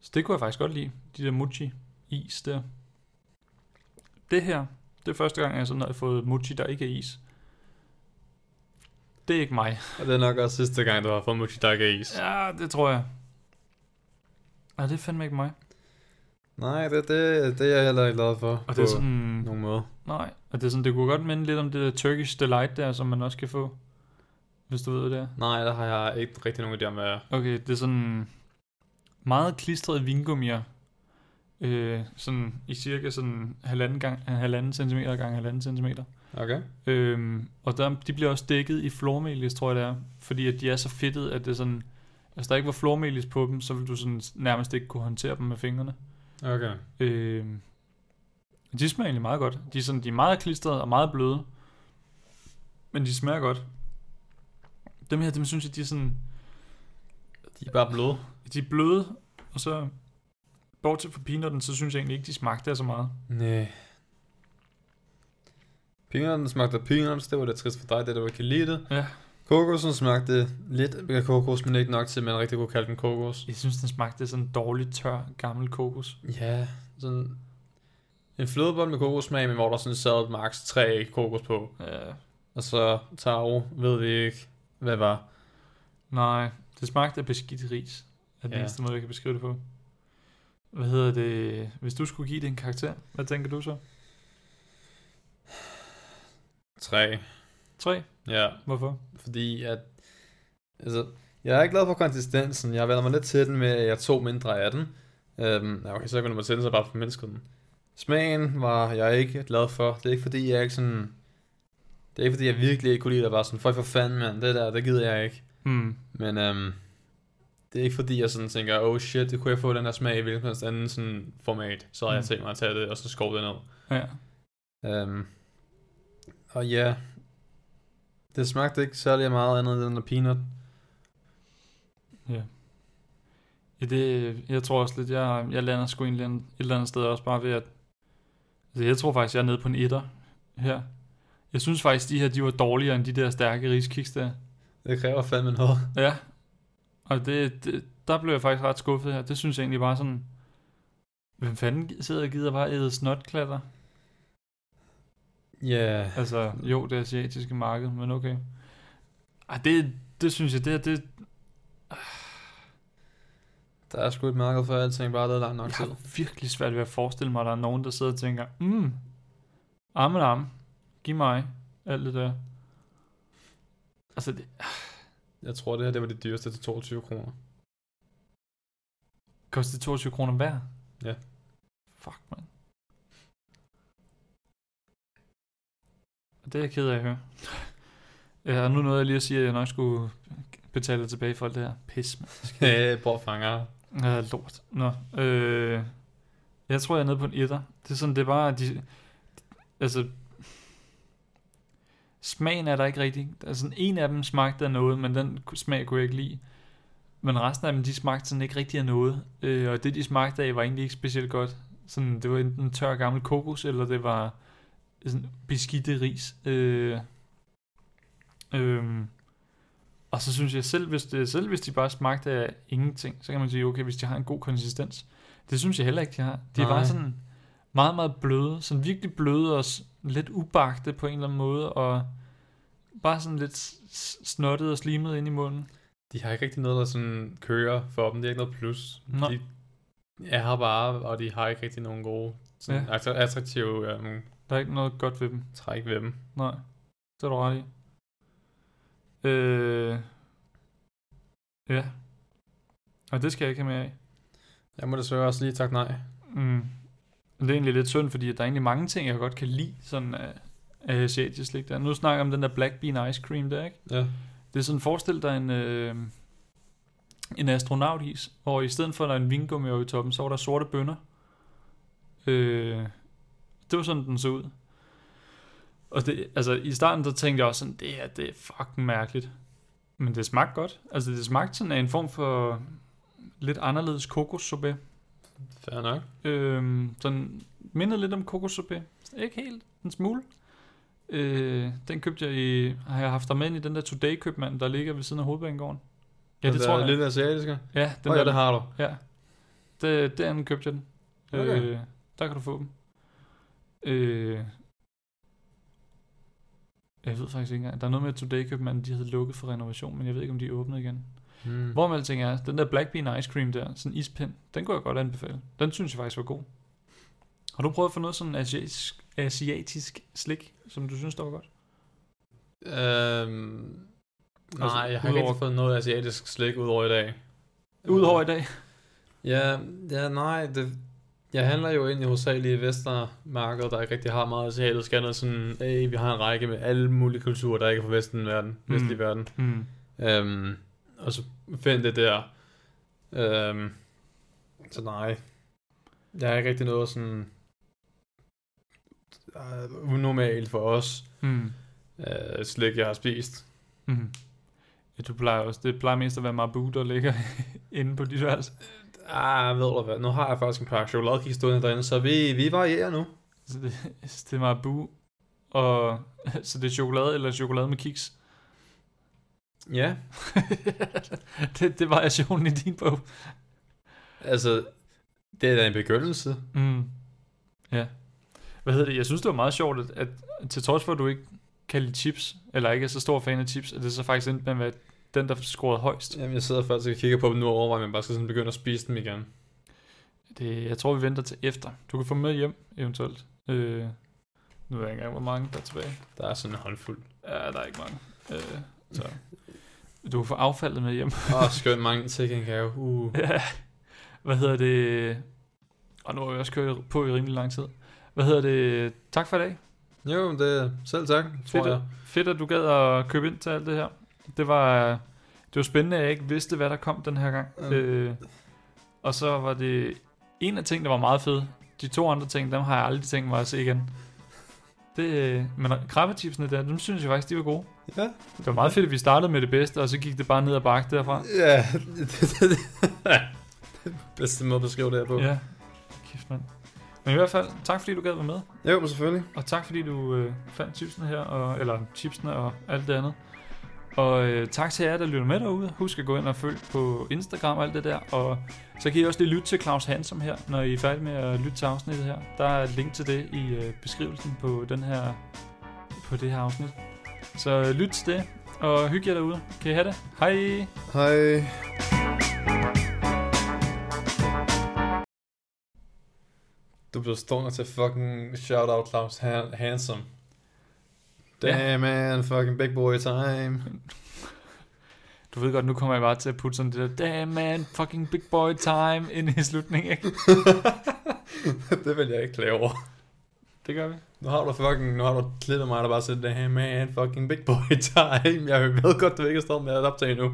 S1: Så det kunne jeg faktisk godt lide, de der mochi is der. Det her, det er første gang, jeg sådan har fået mochi, der ikke er is. Det er ikke mig.
S2: Og det er nok også sidste gang, du har fået Mochidaka is. Ja.
S1: Ja, det tror jeg. Nej, det er fandme ikke mig.
S2: Nej, det, det, det er jeg heller ikke glad for.
S1: Og det er
S2: på
S1: sådan...
S2: nogen måde.
S1: Mm, Nej, og det er sådan, det kunne godt minde lidt om det der Turkish Delight der, som man også kan få. Hvis du ved, hvad det er.
S2: Nej, der har jeg ikke rigtig nogen idé om, hvad jeg er.
S1: Okay, det er sådan meget klistrede vingummier. Øh, sådan i cirka sådan halvanden, gang, halvanden centimeter gange halvanden centimeter.
S2: Okay?
S1: Øhm, og der, de bliver også dækket i flormelis, tror jeg det er. Fordi at de er så fedtet, at det er sådan... Altså der ikke var flormelis på dem, så ville du sådan nærmest ikke kunne håndtere dem med fingrene.
S2: Okay.
S1: Øhm, de smager egentlig meget godt. De er, sådan, de er meget klistrede og meget bløde. Men de smager godt. Dem her, dem synes jeg, de er sådan...
S2: De er bare bløde.
S1: De er bløde, og så... Bortset fra peanutten, så synes jeg egentlig ikke, de smagte af så meget.
S2: Nej. Peanutten smagte af peanuts, det var det trist for dig, det der var ikke kan lide det.
S1: Ja.
S2: Kokosen smagte lidt af kokos, men ikke nok til, at man rigtig kunne kalde den kokos.
S1: Jeg synes, den smagte af sådan dårligt tør, gammel kokos.
S2: Ja, sådan en flødebold med kokossmag, men hvor der sådan sad max 3 kokos på.
S1: Øh,
S2: Og så taro, ved vi ikke, hvad var.
S1: Nej, det smagte af beskidt ris. Er den
S2: Ja.
S1: eneste måde, jeg kan beskrive det på. Hvad hedder det? Hvis du skulle give det en karakter, hvad tænker du så?
S2: 3.
S1: 3?
S2: Ja,
S1: Hvorfor?
S2: fordi at... Altså, jeg er ikke glad for konsistensen. Jeg vender mig lidt til den med, at jeg tog mindre af den. Øhm, ja, okay, så kunne man tænde sig bare for mennesket den. Smagen var jeg ikke glad for. Det er ikke fordi, jeg ikke sådan... Det er ikke fordi, jeg virkelig ikke kunne lide, at der var sådan, for for fanden, mand, det der, det gider jeg ikke.
S1: Hmm.
S2: Men øhm, Det er ikke fordi, jeg sådan tænker, oh shit, det kunne jeg få den her smag i hvilken som helst anden sådan format. Så har jeg
S1: Mm.
S2: tænkt mig at tage det, og så skove det ned.
S1: Ja.
S2: Um, og ja, det smagte ikke særlig meget andet end den der peanut.
S1: ja det, jeg tror også lidt, jeg, jeg lander sgu egentlig en- et eller andet sted også bare ved at... Altså, jeg tror faktisk, jeg er nede på en etter her. Jeg synes faktisk, de her, de var dårligere end de der stærke riskiks der.
S2: Det kræver fandme noget.
S1: Ja. Og det, det, der blev jeg faktisk ret skuffet her. Det synes jeg egentlig bare sådan... Hvem fanden sidder og gider bare æde snotklatter?
S2: Ja, yeah.
S1: Altså, jo, det asiatiske marked, men okay. Ej, det, det synes jeg, det her, det...
S2: der er sgu et marked for alting, bare det er langt nok
S1: Jeg
S2: tid.
S1: har virkelig svært ved at forestille mig, at der er nogen, der sidder og tænker, mm, armen arm, giv mig alt det der. Altså, det,
S2: Jeg tror, det her det var det dyreste til 22 kroner. [laughs]
S1: koster det 22 kroner hver?
S2: Ja.
S1: Fuck, mand. Og Det er jeg ked af at høre. [laughs] Ja, og nu nåede jeg lige at sige, at jeg nok skulle betale tilbage for alt det her. Pis, mand.
S2: Hey, bror fanger.
S1: Ja, lort. Nå, øh, jeg tror, jeg er nede på en etter. Det er sådan, det er bare, at de, altså, smagen er der ikke rigtig. Altså, sådan en af dem smagte af noget, men den ku- smag kunne jeg ikke lide. Men resten af dem, de smagte sådan ikke rigtig af noget. Øh, og det, de smagte af, var egentlig ikke specielt godt. Sådan, det var enten tør gammel kokos, eller det var sådan beskidte ris. Øh, øh, og så synes jeg selv, hvis, det, selv hvis de bare smagte af ingenting, så kan man sige, okay, hvis de har en god konsistens. Det synes jeg heller ikke, de har. De er
S2: Nej.
S1: bare sådan meget, meget bløde. Sådan virkelig bløde og s- lidt ubagte på en eller anden måde. Og bare sådan lidt s- s- snottet og slimet ind i munden.
S2: De har ikke rigtig noget, der sådan kører for dem. Det er ikke noget plus.
S1: Nå.
S2: De er her bare, og de har ikke rigtig nogen gode, sådan ja. attraktive øhm,
S1: Der er ikke noget godt ved dem.
S2: træk ved dem.
S1: Nej, det er du ret i. Øh, ja. Og det skal jeg ikke have mere af.
S2: Jeg må desværre også lige takke nej.
S1: Mm. Det er egentlig lidt synd, fordi der er egentlig mange ting, jeg godt kan lide, sådan af, af asiatisk slik der. Nu snakker jeg om den der black bean ice cream der, ikke?
S2: Ja.
S1: Det er sådan, forestil dig en, øh, en astronautis, hvor i stedet for, at der er en vingummi over i toppen, så var der sorte bønner. Øh, det var sådan, den så ud. Og det, altså, i starten, så tænkte jeg også sådan, det her, det er fucking mærkeligt. Men det smagte godt. Altså, det smagte sådan af en form for lidt anderledes kokossorbet.
S2: Fair nok.
S1: Øh, sådan mindede lidt om kokossorbet. Ikke helt, en smule. Øh, den købte jeg i, har jeg haft dig med ind i den der Today-købmand, der ligger ved siden af hovedbanegården. Ja, det
S2: Den
S1: tror
S2: der
S1: jeg.
S2: Lille asiatiske.
S1: Ja, den
S2: Den oh,
S1: der,
S2: ja, det har du.
S1: Ja. Det, derinde købte jeg den.
S2: Okay.
S1: Øh, der kan du få dem. Øh, jeg ved faktisk ikke engang. Der er noget med, at Today købmanden, de havde lukket for renovation, men jeg ved ikke, om de er åbnet igen.
S2: Mm.
S1: Hvor med alting er, den der Black Bean Ice Cream der, sådan en ispind, den kunne jeg godt anbefale. Den synes jeg faktisk var god. Har du prøvet at få noget sådan asiatisk, asiatisk slik, som du synes, der var godt?
S2: Øhm, nej,
S1: Altså,
S2: jeg har ikke
S1: udover-
S2: rigtig fået noget asiatisk slik udover i dag. Øh.
S1: Udover i dag.
S2: Ja, ja nej, det, jeg handler jo egentlig hovedsageligt i Vestermarkedet, der ikke rigtig har meget asiatisk andet sådan, hey, vi har en række med alle mulige kulturer, der ikke er fra vesten verden,
S1: Mm.
S2: mm. vestlig verden.
S1: Mm.
S2: Øhm, og så find det der. Øhm, så nej, jeg har ikke rigtig noget sådan øh, unormalt for os
S1: Mm.
S2: øh, slik, jeg har spist.
S1: Mm. Ja, du plejer også. Det plejer mest at være Marabu, der ligger [laughs] inde på dit værelse.
S2: Ah, ved du hvad, nu har jeg faktisk en pakke chokoladekiks stående derinde, så vi, vi varierer nu.
S1: Så det, så det er Marabu, og så det er chokolade eller chokolade med kiks. [laughs]
S2: Ja,
S1: det, det er variationen i din bog.
S2: altså, det er da en begyndelse.
S1: Mm. Ja. Hvad hedder det? Jeg synes, det var meget sjovt, at, at til trods for, at du ikke kan lide chips, eller ikke er så stor fan af chips, at det så faktisk endte med at være den, der scorede højst.
S2: Jamen, jeg sidder faktisk og kigger på dem nu og overvejer, om jeg bare skal sådan begynde at spise dem igen.
S1: Det, jeg tror, vi venter til efter. Du kan få dem med hjem, eventuelt. Øh, nu ved jeg ikke engang, hvor mange der er tilbage.
S2: Der er sådan en håndfuld.
S1: Ja, der er ikke mange. Øh, så. Du kan få affaldet med hjem. [laughs]
S2: Åh, [laughs] oh, skønt mange til en gave. Uh.
S1: Ja. Hvad hedder det? Og nu har vi også kørt på i rimelig lang tid. Hvad hedder det? Tak for i dag.
S2: Jo, men det selv tak, tror
S1: Fedt.
S2: jeg.
S1: Fedt, at du gad at købe ind til alt det her. Det var, Det var spændende, at jeg ikke vidste, hvad der kom den her gang.
S2: Mm.
S1: Øh, og så var det en af tingene, der var meget fed. De to andre ting, dem har jeg aldrig tænkt mig at se igen. Det, øh, men krabbetipsene der, dem synes jeg faktisk, de var gode.
S2: Ja.
S1: Det var meget fedt, at vi startede med det bedste, og så gik det bare ned ad bakke derfra.
S2: Ja. Den [laughs] bedste måde at beskrive det her på.
S1: Ja, kæft mand. Men i hvert fald, tak fordi du gad være med.
S2: Jo, men selvfølgelig.
S1: Og tak fordi du øh, fandt tipsene her, og, eller tipsene og alt det andet. Og øh, tak til jer, der lytter med derude. Husk at gå ind og følge på Instagram og alt det der. Og så kan I også lige lytte til Claus Hansom her, når I er færdige med at lytte til afsnittet her. Der er et link til det i øh, beskrivelsen på, den her, på det her afsnit. Så øh, lyt til det, og hygge jer derude. Kan I have det? Hej!
S2: Hej. Du blev stående til fucking shout out Claus Han- Handsome. Damn
S1: Ja.
S2: man, fucking big boy time.
S1: Du ved godt, nu kommer jeg bare til at putte sådan det der, damn man, fucking big boy time, ind i slutningen, ikke?
S2: [laughs] det vil jeg ikke klage over.
S1: Det gør vi.
S2: Nu har du fucking, nu har du [laughs] klippet mig, der bare siger, damn man, fucking big boy time. Jeg ved godt, du ikke har stået med at optage endnu.